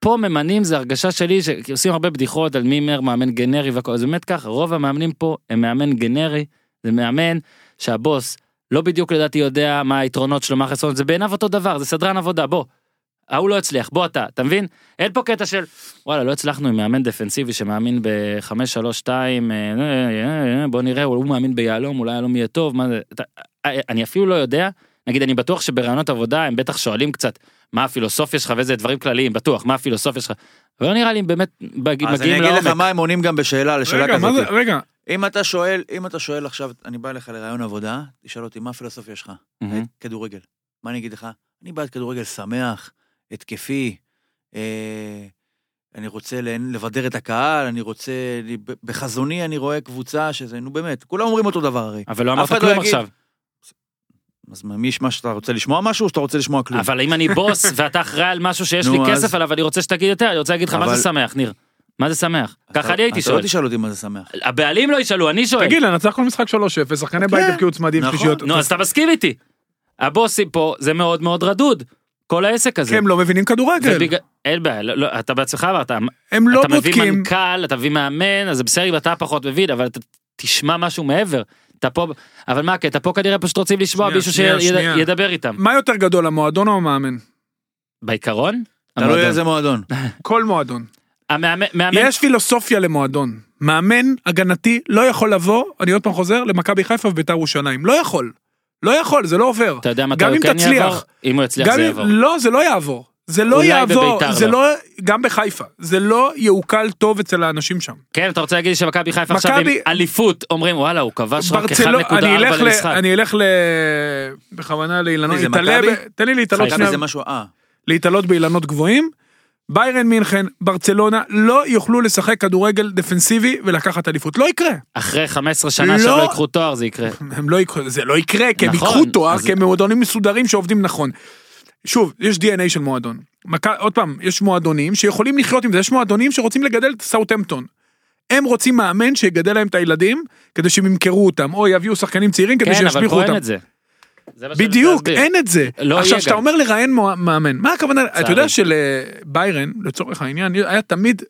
פה ממנים זה הרגשה שלי, שעושים הרבה בדיחות על מימר, מאמן גנרי והכל, זה באמת ככה, רוב המאמנים פה הם מאמן גנרי, זה מאמן שהבוס לא בדיוק לדעתי יודע מה היתרונות שלו, מה החסרונות, זה בעיניו אותו דבר, זה סדרן עבודה, בוא. ההוא לא הצליח, בוא אתה, אתה מבין? אין פה קטע של, וואלה, לא הצלחנו עם מאמן דפנסיבי שמאמין ב-5-3-2, אה, בוא נראה, הוא מאמין ביהלום, אולי יהלום יהיה טוב, מה זה, אתה- אה, אני אפילו לא יודע, נגיד, אני בטוח שברעיונות עבודה הם בטח שואלים קצת, מה הפילוסופיה שלך ואיזה דברים כלליים, בטוח, מה הפילוסופיה שלך, אבל לא נראה לי אם באמת מג- אז אני מגיעים אגיד לך לעומק. מה הם עונים גם בשאלה, לשאלה רגע, מה כזאת. זה, רגע, אם אתה שואל, אם אתה שואל עכשיו, אני בא אליך לרעיון עבודה, תשאל אותי, מה הפילוסופיה שלך? מהמם. כדורגל. מה אני אגיד לך? אני בעד כדורגל שמח, התקפי, אה, אני רוצה להנ- לבדר את הקהל, אני רוצה... אני- ב- בחזוני אני רואה קבוצה שזה, נו באמת, כולם אומרים אותו דבר הרי. אבל לא אף אמרת אחד לא כלום יגיד. עכשיו. אז מה, מי ישמע שאתה רוצה לשמוע משהו או שאתה רוצה לשמוע כלום? אבל אם אני בוס ואתה אחראי על משהו שיש לי נו, אז- כסף עליו, אני רוצה שתגיד יותר, אני רוצה להגיד לך מה אבל- זה שמח, ניר. מה זה שמח? אתה- ככה אני הייתי אתה שואל. לא תשאל אותי מה זה שמח. הבעלים לא ישאלו, אני שואל. תגיד, לנצח כל משחק 3-0, שחקני בית כן. הבקיעו צמדים נכון. שלישיות. נו, אז אתה מסכים איתי. הבוסים פה זה מאוד מאוד רדוד. כל העסק הזה. כי הם לא מבינים כדורגל, ובגלל- אין בעיה, לא- לא, אתה בעצמך אמרת, הם לא אתה מביא בודקים. מנכ"ל, אתה מביא מאמן, אז זה בסדר אם אתה פחות מבין, אבל אתה תשמע משהו מעבר. אתה פה, אבל מה הקטע? פה כנראה פשוט רוצים לשמוע שנייה, מישהו שנייה, שנייה. שידבר איתם. מה יותר גדול, המועדון או המאמן? בעיקרון? לא תלוי המועדון. לא לא איזה מועדון. כל מועדון. המאמן, מאמן- יש פילוסופיה למועדון. מאמן הגנתי לא יכול לבוא, אני עוד פעם חוזר, למכבי חיפה וביתר ירושלים. לא יכול. לא יכול, זה לא עובר. אתה יודע מתי גם הוא אם כן תצליח. יעבור? אם הוא יצליח גם זה אם- יעבור. לא, זה לא יעבור. זה לא אולי יעבור, בביתר זה לא. לא, גם בחיפה, זה לא יעוקל טוב אצל האנשים שם. כן, אתה רוצה להגיד לי שמכבי חיפה עכשיו עם מכבי- אליפות, אומרים וואלה, הוא כבש רק ברצלו- 1.4 אני אלך ל... למשחק. אני אלך ל... בכוונה לאילנות, מי זה, להתעלה מכבי? ב- תן לי להתעלות מכבי שנייה, זה משהו, אה. להתעלות באילנות גבוהים. ביירן מינכן, ברצלונה, לא יוכלו לשחק כדורגל דפנסיבי ולקחת אליפות. לא יקרה. אחרי 15 שנה שהם לא. לא ייקחו תואר זה יקרה. הם לא יקחו, זה לא יקרה, כי הם נכון, ייקחו תואר, אז- כי הם מועדונים מסודרים שעובדים נכון. שוב, יש DNA של מועדון. מכה, עוד פעם, יש מועדונים שיכולים לחיות עם זה, יש מועדונים שרוצים לגדל את סאוטהמפטון. הם רוצים מאמן שיגדל להם את הילדים, כדי שהם ימכרו אותם, או יביאו שחקנים צעירים כדי כן, אבל שישביחו פה אותם. אין את זה. זה מה שאני בדיוק, רוצה להסביר. אין את זה. לא יהיה עכשיו, כשאתה גם. אומר לראיין מוע- מאמן, מה הכוונה? אתה צערי. יודע שלביירן, לצורך העניין, היה תמיד,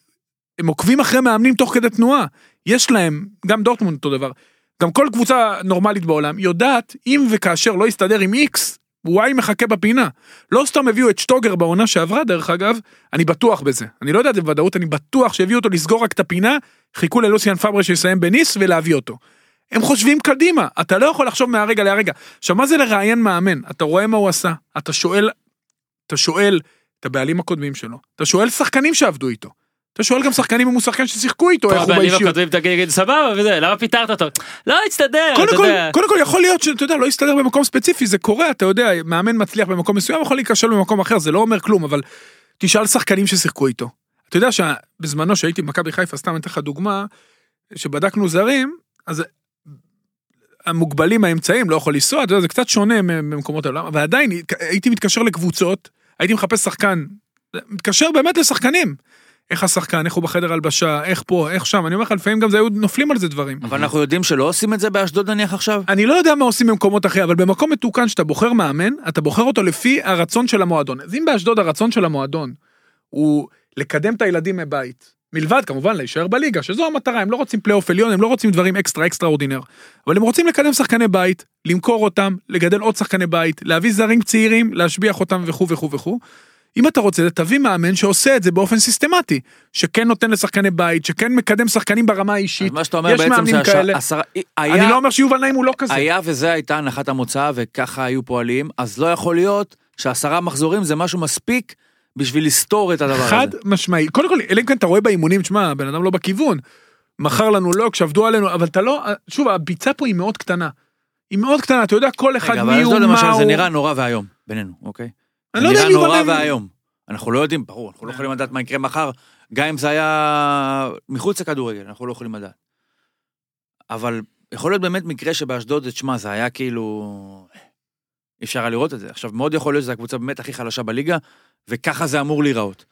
הם עוקבים אחרי מאמנים תוך כדי תנועה. יש להם, גם דורטמונד אותו דבר, גם כל קבוצה נורמלית בעולם יודעת, אם וכאשר לא יסתדר עם איקס, וואי מחכה בפינה. לא סתם הביאו את שטוגר בעונה שעברה, דרך אגב, אני בטוח בזה. אני לא יודע את זה בוודאות, אני בטוח שהביאו אותו לסגור רק את הפינה, חיכו ללוסיאן פאברה שיסיים בניס ולהביא אותו. הם חושבים קדימה, אתה לא יכול לחשוב מהרגע להרגע. עכשיו, מה זה לראיין מאמן? אתה רואה מה הוא עשה, אתה שואל, אתה שואל את הבעלים הקודמים שלו, אתה שואל שחקנים שעבדו איתו, אתה שואל גם שחקנים אם הוא שחקן ששיחקו איתו, פה איך הוא הבעלים באישיות. הכותבים תגיד, יגיד, סבבה וזה, למה פיטרת אותו? לא, הצטדר, אתה קודם כל, יודע. קודם כל יכול להיות שאתה יודע, לא יסתדר במקום ספציפי, זה קורה, אתה יודע, מאמן מצליח במקום מסוים, יכול להיכשל במקום אחר, זה לא אומר כלום, אבל תשאל שחקנים ששיחקו איתו. אתה יודע שבזמנו שהייתי במכבי חיפה, סתם אני אתן לך דוגמה, שבדקנו זרים, אז המוגבלים האמצעים לא יכול לנסוע, אתה יודע, זה קצת שונה מ- ממקומות העולם, אבל עדיין הייתי מתקשר לקבוצות, הייתי מחפש שחקן, מתקשר באמת לשחקנים. איך השחקן, איך הוא בחדר הלבשה, איך פה, איך שם. אני אומר לך, לפעמים גם זה היו נופלים על זה דברים. Mm-hmm. אבל אנחנו יודעים שלא עושים את זה באשדוד נניח עכשיו? אני לא יודע מה עושים במקומות אחרים, אבל במקום מתוקן שאתה בוחר מאמן, אתה בוחר אותו לפי הרצון של המועדון. אז אם באשדוד הרצון של המועדון הוא לקדם את הילדים מבית, מלבד כמובן להישאר בליגה, שזו המטרה, הם לא רוצים פלייאוף עליון, הם לא רוצים דברים אקסטרה אקסטרה אורדינר, אבל הם רוצים לקדם שחקני בית, למכור אותם, לגדל עוד שחקני בית, להביא זרים צעירים, להשביח אותם וכו' וכו' וכו'. אם אתה רוצה, תביא מאמן שעושה את זה באופן סיסטמטי, שכן נותן לשחקני בית, שכן מקדם שחקנים ברמה האישית. אז מה שאתה אומר יש בעצם מאמנים זה כאלה. עשרה... אני היה, לא אומר שיובל נעים הוא לא כזה. היה וזה הייתה הנחת המוצא וככה היו פועלים, אז לא יכול להיות שעשרה מחזורים זה משהו מספיק בשביל לסתור את הדבר חד הזה. משמעי. קודם כל, אלא אם כן אתה רואה באימונים, תשמע, הבן אדם לא בכיוון. מכר לנו לוקש, עבדו עלינו, אבל אתה לא, שוב, הביצה פה היא מאוד קטנה. היא מאוד קטנה, אתה יודע כל אחד רגע, מי אבל הוא, אשדוד מה למשל הוא. זה נראה נורא ואיום, בינינו, אוקיי? אני לא יודע זה אם נראה נורא יובל אה. נעים- ואיום. אנחנו לא יודעים, ברור, אנחנו לא יכולים לדעת מה יקרה מחר, גם אם זה היה מחוץ לכדורגל, אנחנו לא יכולים לדעת. אבל יכול להיות באמת מקרה שבאשדוד, זה, תשמע, זה היה כאילו... אי אפשר היה לראות את זה. עכשיו, מאוד יכול להיות שזו הקבוצה באמת הכי חלשה בליגה, וככה זה אמור להיראות.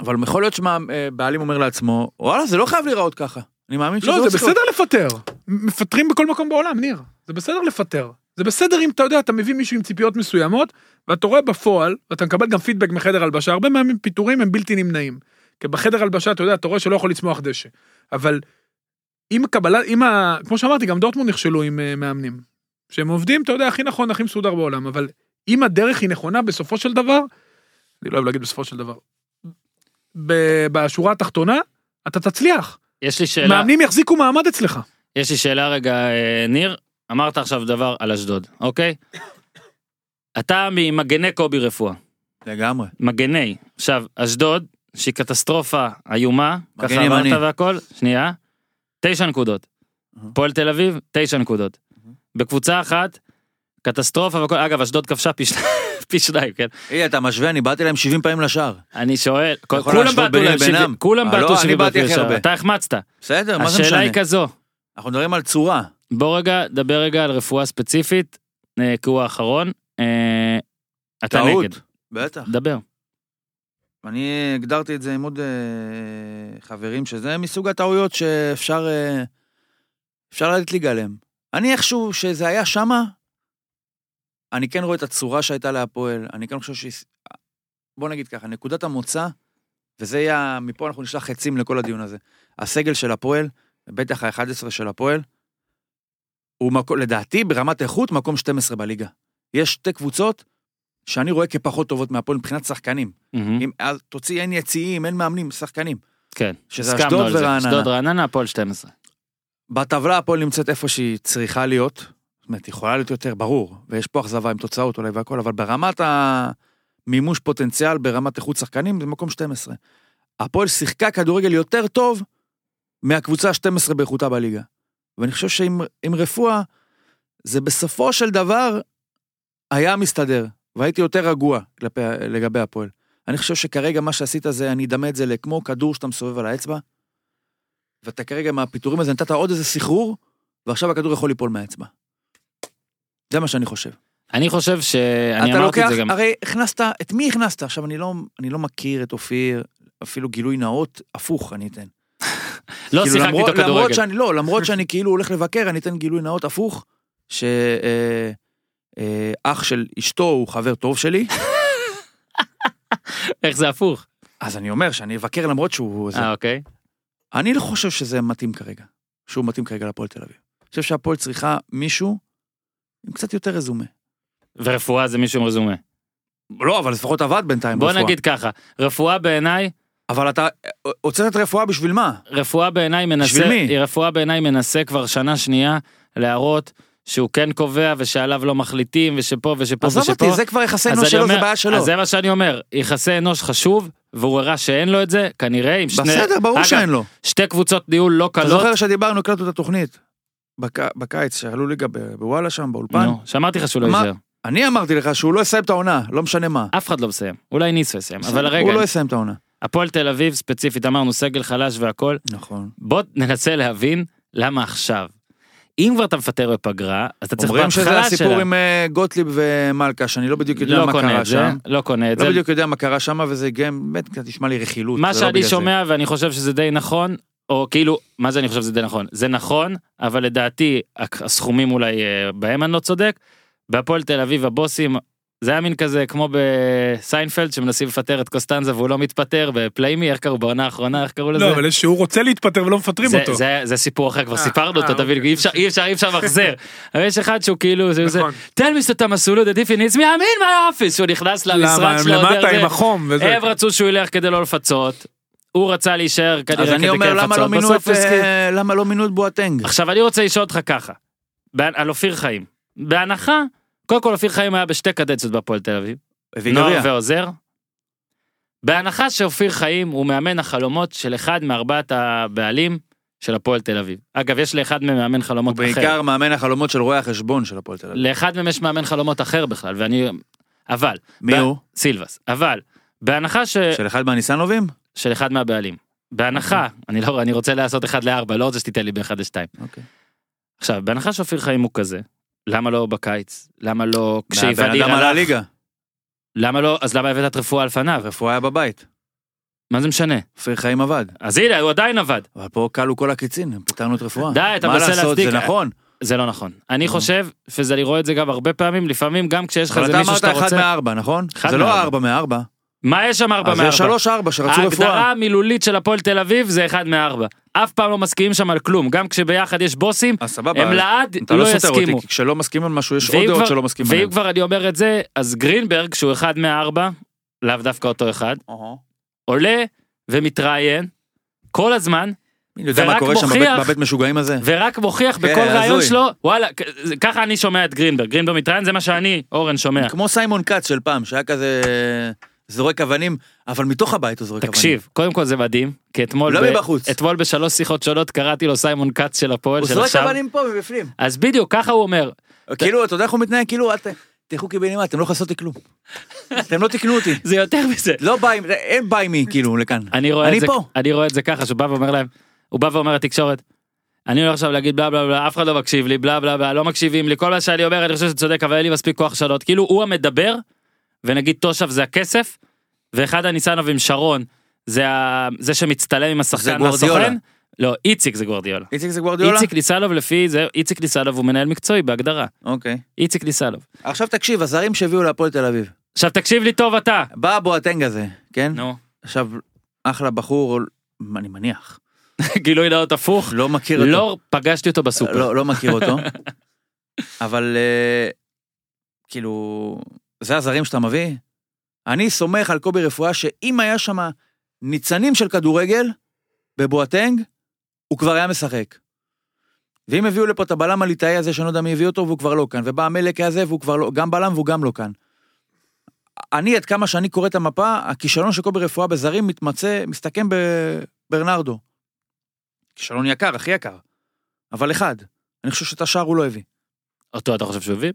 אבל יכול להיות שבעלים אומר לעצמו, וואלה, זה לא חייב להיראות ככה. אני מאמין שזה לא, זה צריך להיות בסדר לפטר. מפטרים בכל מקום בעולם, ניר. זה בסדר לפטר. זה בסדר אם אתה יודע, אתה מביא מישהו עם ציפיות מסוימות, ואתה רואה בפועל, ואתה מקבל גם פידבק מחדר הלבשה, הרבה מהמים פיטורים הם בלתי נמנעים. כי בחדר הלבשה אתה יודע, אתה רואה שלא יכול לצמוח דשא. אבל אם הקבלה, אם ה... כמו שאמרתי, גם דורטמונד נכשלו עם אה, מאמנים. שהם עובדים, אתה יודע, הכי נכון, הכי מסודר בעולם, אבל אם הדרך היא נכונה בסופו של דבר, אני לא אוהב להגיד בסופו של דבר, ב- בשורה התחתונה, אתה תצליח. יש לי שאלה, מאמנים יחזיקו מעמד אצלך. יש לי שאלה רגע, אה, ניר, אמרת עכשיו דבר על אשדוד, אוקיי? אתה ממגני קובי רפואה, לגמרי. מגני. עכשיו, אשדוד, שהיא קטסטרופה איומה, מגן ככה ימני. אמרת והכל, שנייה, תשע נקודות. אהה. פועל תל אביב, תשע נקודות. בקבוצה אחת, קטסטרופה והכל, אגב, אשדוד כבשה פי שניים, פי שניים, כן? היי, אתה משווה, אני באתי להם 70 פעמים לשער. אני שואל, כל- יכול כולם להשוות בעטו ביני להם לבינם? שבעים, כולם אה, לא, בעטו אני שבעים בעטתי באופי הכי ישר, הרבה. אתה החמצת. בסדר, מה זה משנה? השאלה היא כזו, אנחנו מדברים על צורה. בוא רגע, דבר רגע על רפואה ספציפית, אה, כי הוא האחרון. אה, אתה טעות. נגד, בטח. דבר. אני הגדרתי את זה עם עוד אה, חברים, שזה מסוג הטעויות שאפשר אה, אפשר לרדת ליגה עליהן. אני איכשהו, שזה היה שמה, אני כן רואה את הצורה שהייתה להפועל, אני כן חושב שהיא... בוא נגיד ככה, נקודת המוצא, וזה יהיה, מפה אנחנו נשלח חצים לכל הדיון הזה. הסגל של הפועל, בטח ה-11 של הפועל, הוא מקום, לדעתי, ברמת איכות, מקום 12 בליגה. יש שתי קבוצות שאני רואה כפחות טובות מהפועל מבחינת שחקנים. מהמם. אם, אז תוציא, אין יציעים, אין מאמנים, שחקנים. כן, שזה הסכמנו אשדוד על זה. ורעננה. אשדוד רעננה, הפועל 12. בטבלה הפועל נמצאת איפה שהיא צריכה להיות. זאת אומרת, יכולה להיות יותר, ברור, ויש פה אכזבה עם תוצאות אולי והכל, אבל ברמת המימוש פוטנציאל, ברמת איכות שחקנים, זה מקום 12. הפועל שיחקה כדורגל יותר טוב מהקבוצה ה-12 באיכותה בליגה. ואני חושב שעם עם רפואה, זה בסופו של דבר היה מסתדר, והייתי יותר רגוע כלפי, לגבי הפועל. אני חושב שכרגע מה שעשית זה, אני אדמה את זה לכמו כדור שאתה מסובב על האצבע, ואתה כרגע מהפיטורים הזה נתת עוד איזה סחרור, ועכשיו הכדור יכול ליפול מהאצבע. זה מה שאני חושב. אני חושב ש... אני אתה אמרתי לוקח, את זה גם. הרי הכנסת, את מי הכנסת? עכשיו, אני לא, אני לא מכיר את אופיר, אפילו גילוי נאות, הפוך אני אתן. לא כאילו, שיחקתי למרות- איתו למרות כדורגל. שאני, לא, למרות שאני כאילו הולך לבקר, אני אתן גילוי נאות הפוך, שאח אה, אה, אח של אשתו הוא חבר טוב שלי, איך זה הפוך? אז אני אומר שאני אבקר למרות שהוא... זה. אה, אוקיי. אני לא חושב שזה מתאים כרגע, שהוא מתאים כרגע להפועל תל אביב. אני חושב שהפועל צריכה מישהו עם קצת יותר רזומה. ורפואה זה מישהו עם רזומה. לא, אבל לפחות עבד בינתיים בוא ברפואה. נגיד ככה, רפואה בעיניי, אבל אתה אה, הוצאת את הרפואה בשביל מה? רפואה בעיניי מנסה, בשביל מי? רפואה בעיניי מנסה כבר שנה שנייה להראות שהוא כן קובע ושעליו לא מחליטים ושפה ושפה ושפה. עזוב אותי, זה כבר יחסי אנוש אני שלו, זה אומר- בעיה שלו. אז זה מה שאני אומר, יחסי אנוש חשוב, והוא הראה שאין לו את זה, כנראה עם שני... בסדר, ברור אגב, שאין לו. שתי קבוצות ניהול לא אתה קלות. זוכר שדיברנו, הקלטנו את התוכנית. בק- בקיץ, שעלו ליגה ב- בוואלה שם, באולפן. נו, שאמרתי לך שהוא לא מה? יישאר. אני אמרתי לך שהוא לא יסיים את העונה, לא משנה מה. אף אחד לא מסיים. אולי ניסו יסיים, אבל רגע, הוא לא יסיים את העונה. הפועל תל אביב ספציפית אמרנו סגל חלש והכל, נכון. בוא ננסה להבין למה עכשיו. אם כבר אתה מפטר בפגרה, אז אתה צריך אומרים בהתחלה שלה. שזה הסיפור עם אה, גוטליב ומלכה, שאני לא בדיוק יודע לא מה קונה קרה את זה, שם. לא קונה את זה. לא בדיוק יודע מה קרה שם, וזה גם, באמת, קצת נשמע לי רכילות. מה זה לא שאני בגלל זה. שומע ואני חושב שזה די נכון, או כאילו, מה זה אני חושב שזה די נכון? זה נכון, אבל לדעתי הק- הסכומים אולי אה, בהם אני לא צודק. בהפועל תל אביב הבוסים, זה היה מין כזה כמו בסיינפלד שמנסים לפטר את קוסטנזה והוא לא מתפטר בפליימי, איך קראו בעונה האחרונה, איך קראו לזה? לא, אבל יש שהוא רוצה להתפטר ולא מפטרים זה, אותו. זה, זה סיפור אחר כבר אה, סיפרנו אותו אה, תבין אוקיי. אי אפשר אי אפשר אי אפשר למחזר. אבל יש אחד שהוא כאילו זה זה נכון. תן לי שאתה מסולו דה דיפי ניץ מי אמין מה אופיס שהוא נכנס למה, למשרד שלו. למטה דרך זה. עם החום וזה. הם רצו שהוא ילך כדי לא לפצות. הוא רצה להישאר כנראה אז כדי אני כן אומר, למה לפצות. לא מינו את, בסוף אה, הסכים. למה לא מינו את בואטנג? עכשיו אני רוצה לשאול אותך ככה. בה- על אופיר חיים. בהנחה, קודם כל אופיר חיים היה בשתי קדנציות בהפועל תל אביב. נוער אביגריה. ועוזר. בהנחה שאופיר חיים הוא מאמן החלומות של אחד מארבעת הבעלים של הפועל תל אביב. אגב, יש לאחד מהם מאמן חלומות הוא אחר. בעיקר מאמן החלומות של רואי החשבון של הפועל תל אביב. לאחד מהם יש מאמן חלומות אחר בכלל, ואני... אבל, מי ב- הוא? סילבס, אבל, בהנחה ש... של אחד מהניסנובים? של אחד מהבעלים. בהנחה, אני לא, אני רוצה לעשות אחד לארבע, לא רוצה שתיתן לי באחד לשתיים. אוקיי. עכשיו, בהנחה שאופיר חיים הוא כזה, למה לא בקיץ? למה לא הבן כשאיווניר אדם עלה הלך? ליגה. למה לא, אז למה הבאת את רפואה על פניו? רפואה היה בבית. מה זה משנה? אופיר חיים עבד. אז הנה, הוא עדיין עבד. אבל פה כלו כל הקיצין, הם פיטרנו את רפואה. די, אתה מה מנסה לעשות, להצדיק. זה נכון. זה לא נכון. אני חושב, ואני רואה את זה גם הרבה פעמים, לפעמים גם כשיש לך אה. אבל איזה אתה מישהו אמרת שאתה אחד רוצה... מארבע, נכון? אחד זה לא מארבע. ארבע מארבע. מה יש שם ארבע אז זה מארבע? אה, שלוש ארבע שרצו ההגדרה רפואה. המילולית של הפועל תל אביב זה אחד מארבע. אף פעם לא מסכימים שם על כלום, גם כשביחד יש בוסים, אז אה, סבבה. הם לעד אתה לא לא סותר יסכימו. אותי, כי כשלא מסכימים על משהו יש ואם עוד דעות כבר- שלא מסכימים ואם עליהן. כבר אני אומר את זה, אז גרינברג, שהוא אחד מארבע, לאו דווקא אותו אחד, אהה. עולה ומתראיין כל הזמן, אני יודע מה ורק קורה שם בבית- מוכיח- בבית משוגעים הזה. ורק מוכיח כן, בכל ראיון הזוי. שלו, וואלה, כ- זה- ככה אני שומע את גרינברג, גרינברג מתראיין, זה מה שאני, אורן, שומע. כמו סיימון כץ של פעם, שהיה כזה זורק אבנים, אבל מתוך הבית הוא זורק אבנים. תקשיב, קודם כל זה מדהים, כי אתמול, לא ב- מבחוץ. אתמול בשלוש שיחות שונות קראתי לו סיימון כץ של הפועל הוא של זורק עכשיו, אבנים פה מבפנים. אז בדיוק ככה הוא אומר, כאילו, אתה יודע איך הוא מתנהג? כאילו, אל ת- תלכו קיבינימה, אתם לא יכולים לעשות לי כלום. אתם לא תקנו אותי. זה יותר מזה, לא ביי, אין ביי מי, כאילו, לכאן. אני רואה, אני את זה, פה. אני רואה את זה ככה שהוא בא ואומר להם, הוא בא ואומר לתקשורת, אני הולך עכשיו להגיד בלה בלה בלה, אף אחד לא מקשיב לי, בלה בלה בלה, לא מקשיבים לי, כל מה שאני אומר אני חושב שצודק אבל אין לי מספיק כוח לשנות, כאילו הוא המדבר, ונגיד תושב זה הכסף, ואחד הניסנוב עם שרון, זה, ה... זה שמצטלם עם השחקן גוורדיולה. הסוכן, לא איציק זה גוורדיולה, איציק זה גוורדיולה? איציק ניסנוב לפי זה, איציק ניסנוב הוא מנהל מקצועי בהגדרה, אוקיי. איציק ניסנוב. עכשיו תקשיב, הזרים שהביאו להפועל תל אביב. עכשיו תקשיב לי טוב אתה, בא בואטנג הזה, כן? נו, עכשיו, אחלה בחור, אני מניח. גילוי נאות הפוך, לא מכיר אותו. לא פגשתי אותו בסופר, לא, לא מכיר אותו. אבל אה, כאילו, זה הזרים שאתה מביא? אני סומך על קובי רפואה שאם היה שם ניצנים של כדורגל בבואטנג, הוא כבר היה משחק. ואם הביאו לפה את הבלם הליטאי הזה, שאני לא יודע מי הביא אותו, והוא כבר לא כאן, ובא המלק הזה, והוא כבר לא, גם בלם והוא גם לא כאן. אני, עד כמה שאני קורא את המפה, הכישלון של קובי רפואה בזרים מתמצא, מסתכם בברנרדו. כישלון יקר, הכי יקר. אבל אחד. אני חושב שאת השאר הוא לא הביא. אותו אתה חושב שהוא הביא?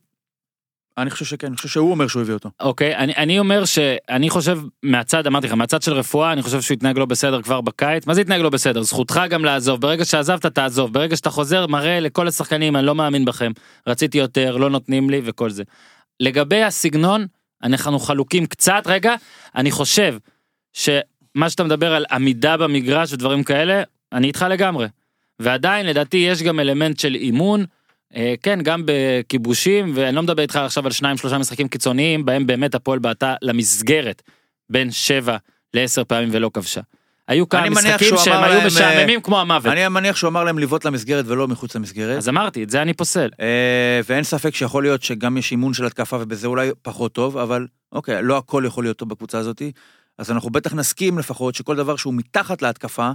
אני חושב שכן, אני חושב שהוא אומר שהוא הביא אותו. אוקיי, אני, אני אומר שאני חושב מהצד, אמרתי לך, מהצד של רפואה, אני חושב שהוא התנהג לא בסדר כבר בקיץ. מה זה התנהג לא בסדר? זכותך גם לעזוב. ברגע שעזבת, תעזוב. ברגע שאתה חוזר, מראה לכל השחקנים, אני לא מאמין בכם. רציתי יותר, לא נותנים לי וכל זה. לגבי הסגנון, אנחנו חלוקים קצת. רגע, אני חושב שמה שאתה מדבר על עמידה במגרש ודברים כאלה, אני איתך לגמרי. ועדיין, לדעתי, יש גם אלמנט של אימון. אה, כן, גם בכיבושים, ואני לא מדבר איתך עכשיו על שניים שלושה משחקים קיצוניים, בהם באמת הפועל בעטה למסגרת בין שבע לעשר פעמים ולא כבשה. היו כמה אני מניח משחקים שהוא שהם אמר היו להם, אה, משעממים כמו המוות. אני מניח שהוא אמר להם לבעוט למסגרת ולא מחוץ למסגרת. אז אמרתי, את זה אני פוסל. אה, ואין ספק שיכול להיות שגם יש אימון של התקפה ובזה אולי פחות טוב, אבל אוקיי, לא הכל יכול להיות טוב בקבוצה הזאת. אז אנחנו בטח נסכים לפחות שכל דבר שהוא מתחת להתקפה,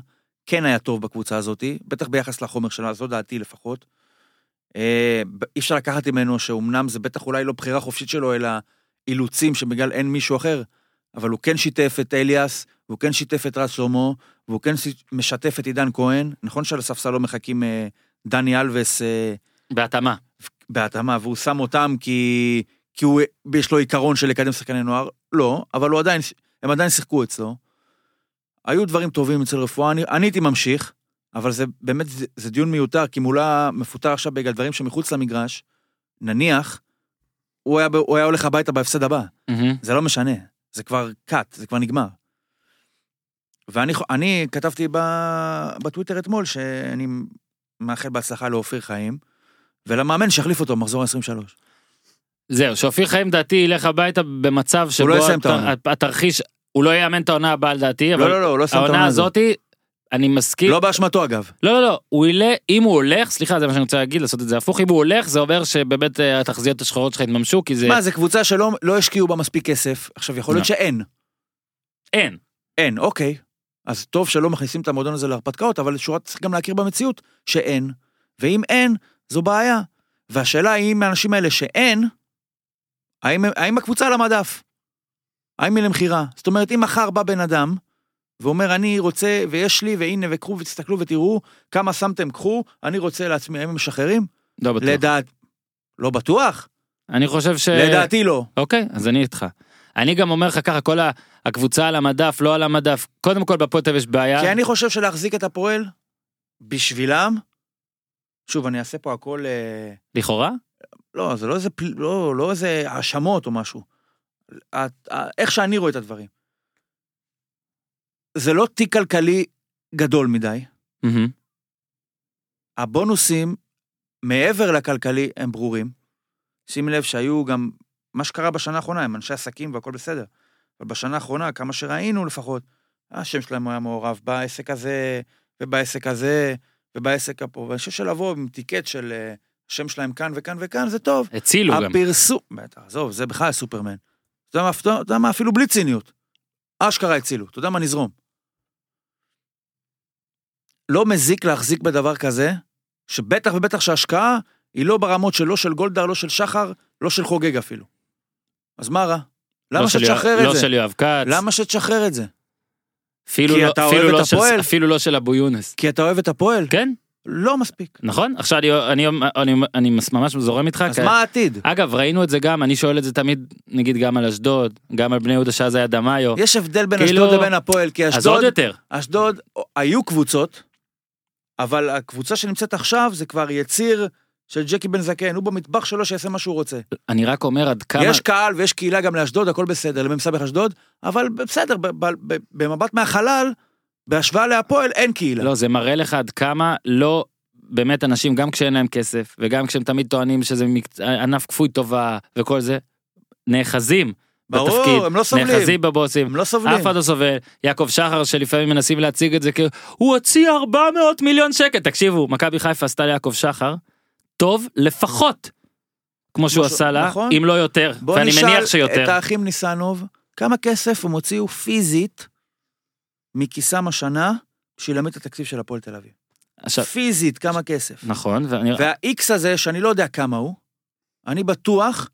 כן היה טוב בקבוצה הזאת, בטח ביחס לחומר שלה, זו דעתי לפחות. אה, ב- אי אפשר לקחת ממנו שאומנם זה בטח אולי לא בחירה חופשית שלו, אלא אילוצים שבגלל אין מישהו אחר, אבל הוא כן שיתף את אליאס, והוא כן שיתף את רז שלמה, והוא כן ש- משתף את עידן כהן. נכון שעל הספסל לא מחכים אה, דני אלווס, אה, בהתאמה. בהתאמה, והוא שם אותם כי, כי הוא, יש לו עיקרון של לקדם שחקני נוער? לא, אבל הוא עדיין, הם עדיין שיחקו אצלו. היו דברים טובים אצל רפואה, אני, אני הייתי ממשיך, אבל זה באמת, זה, זה דיון מיותר, כי מולה מפוטר עכשיו בגלל דברים שמחוץ למגרש, נניח, הוא היה, ב- הוא היה הולך הביתה בהפסד הבא. מהמם. זה לא משנה, זה כבר קאט, זה כבר נגמר. ואני חו- אני כתבתי ב, בטוויטר אתמול שאני מאחל בהצלחה לאופיר חיים, ולמאמן שיחליף אותו במחזור ה-23. זהו, שאופיר חיים דעתי ילך הביתה במצב שבו לא יסיים את הת- העונה. התרחיש, הוא לא יאמן את העונה הבאה לדעתי, לא, אבל לא, לא, הוא לא שם את העונה העונה הזאת. הזאתי, אני מסכים, לא באשמתו אגב. לא, לא, לא, הוא ילה, אם הוא הולך, סליחה, זה מה שאני רוצה להגיד, לעשות את זה הפוך, אם הוא הולך, זה אומר שבאמת אה, התחזיות השחורות שלך התממשו, כי זה, לא. מה, זו קבוצה שלא לא השקיעו בה מספיק כסף, עכשיו יכול להיות שאין. אין. אין, אוקיי. אז טוב שלא מכניסים את המועדון הזה להרפתקאות, אבל שורת צריך גם להכיר במציאות שאין. ואם אין, זו בעיה. והשאלה היא אם האנשים האלה שאין, האם, האם הקבוצה על המדף? האם היא למכירה? זאת אומרת, אם מחר בא בן אדם, ואומר, אני רוצה, ויש לי, והנה, וקחו, ותסתכלו ותראו כמה שמתם, קחו, אני רוצה לעצמי, האם הם משחררים? לא בטוח. אה, לדעת... לא בטוח? אני חושב ש... לדעתי לא. אוקיי, אז אני איתך. אני גם אומר לך ככה, כל ה- הקבוצה על המדף, לא על המדף, קודם כל בפועל תל אביב יש בעיה. כי אני חושב שלהחזיק את הפועל, בשבילם, שוב, אני אעשה פה הכל... אה, לכאורה? לא, זה לא איזה, פל- לא, לא איזה האשמות או משהו. את- ה- איך שאני רואה את הדברים. זה לא תיק כלכלי גדול מדי. מהמם. הבונוסים, מעבר לכלכלי, הם ברורים. שים לב שהיו גם, מה שקרה בשנה האחרונה, הם אנשי עסקים והכל בסדר. אבל בשנה האחרונה, כמה שראינו לפחות, השם שלהם היה מעורב בעסק הזה, ובעסק הזה, ובעסק הפה. ואני חושב שלבוא עם טיקט של אה, השם שלהם כאן וכאן וכאן, זה טוב. הצילו גם. הפרסום, בטח, עזוב, זה בכלל סופרמן. אתה יודע מה, אתה יודע מה, אפילו בלי ציניות. אשכרה הצילו, אתה יודע מה, נזרום. לא מזיק להחזיק בדבר כזה, שבטח ובטח שההשקעה היא לא ברמות של לא של גולדהר, לא של שחר, לא של חוגג אפילו. אז מה רע? לא למה של יואב- שתשחרר את לא זה? של יואב כץ. למה שתשחרר את זה? אפילו כי לא- אתה אפילו אוהב לא את של- הפועל. אפילו לא של אבו יונס. כי אתה אוהב את הפועל? כן, לא מספיק. נכון. עכשיו אני- אני- אני- אני מס- ממש זורם איתך. אז כי- מה העתיד? אגב, ראינו את זה גם, אני שואל את זה תמיד, נגיד גם על אשדוד, גם על בני יהודה שאז היה דמאיו. יש הבדל בין כאילו- אשדוד לבין הפועל, כי אז עוד אשדוד יותר. אשדוד, היו קבוצות, אבל הקבוצה שנמצאת עכשיו זה כבר יציר של ג'קי בן זקן, הוא במטבח שלו שיעשה מה שהוא רוצה. אני רק אומר עד כמה... כמה... יש קהל ויש קהילה גם לאשדוד, הכל בסדר, למ"ס אשדוד, אבל בסדר, ב- ב- ב- במבט מהחלל, בהשוואה להפועל, אין קהילה. לא, זה מראה לך עד כמה לא... באמת אנשים, גם כשאין להם כסף, וגם כשהם תמיד טוענים שזה מקצ... ענף כפוי טובה וכל זה, נאחזים ברור, בתפקיד, הם לא סובלים. נאחזים בבוסים, הם לא סובלים. אף אחד לא סובל, יעקב שחר שלפעמים מנסים להציג את זה כאילו, הוא הוציא 400 מיליון שקל, תקשיבו, מכבי חיפה עשתה ליעקב שחר, טוב לפחות, כמו שהוא משהו- עשה לה, נכון. אם לא יותר, בוא ואני נשאל מניח שיותר. את האחים ניסנוב, כמה כסף הם הוציאו פיזית מכיסם השנה בשביל להעמיד את התקציב של הפועל תל אביב. עכשיו, פיזית, כמה כסף. נכון, ואני... וה-X הזה, שאני לא יודע כמה הוא, אני בטוח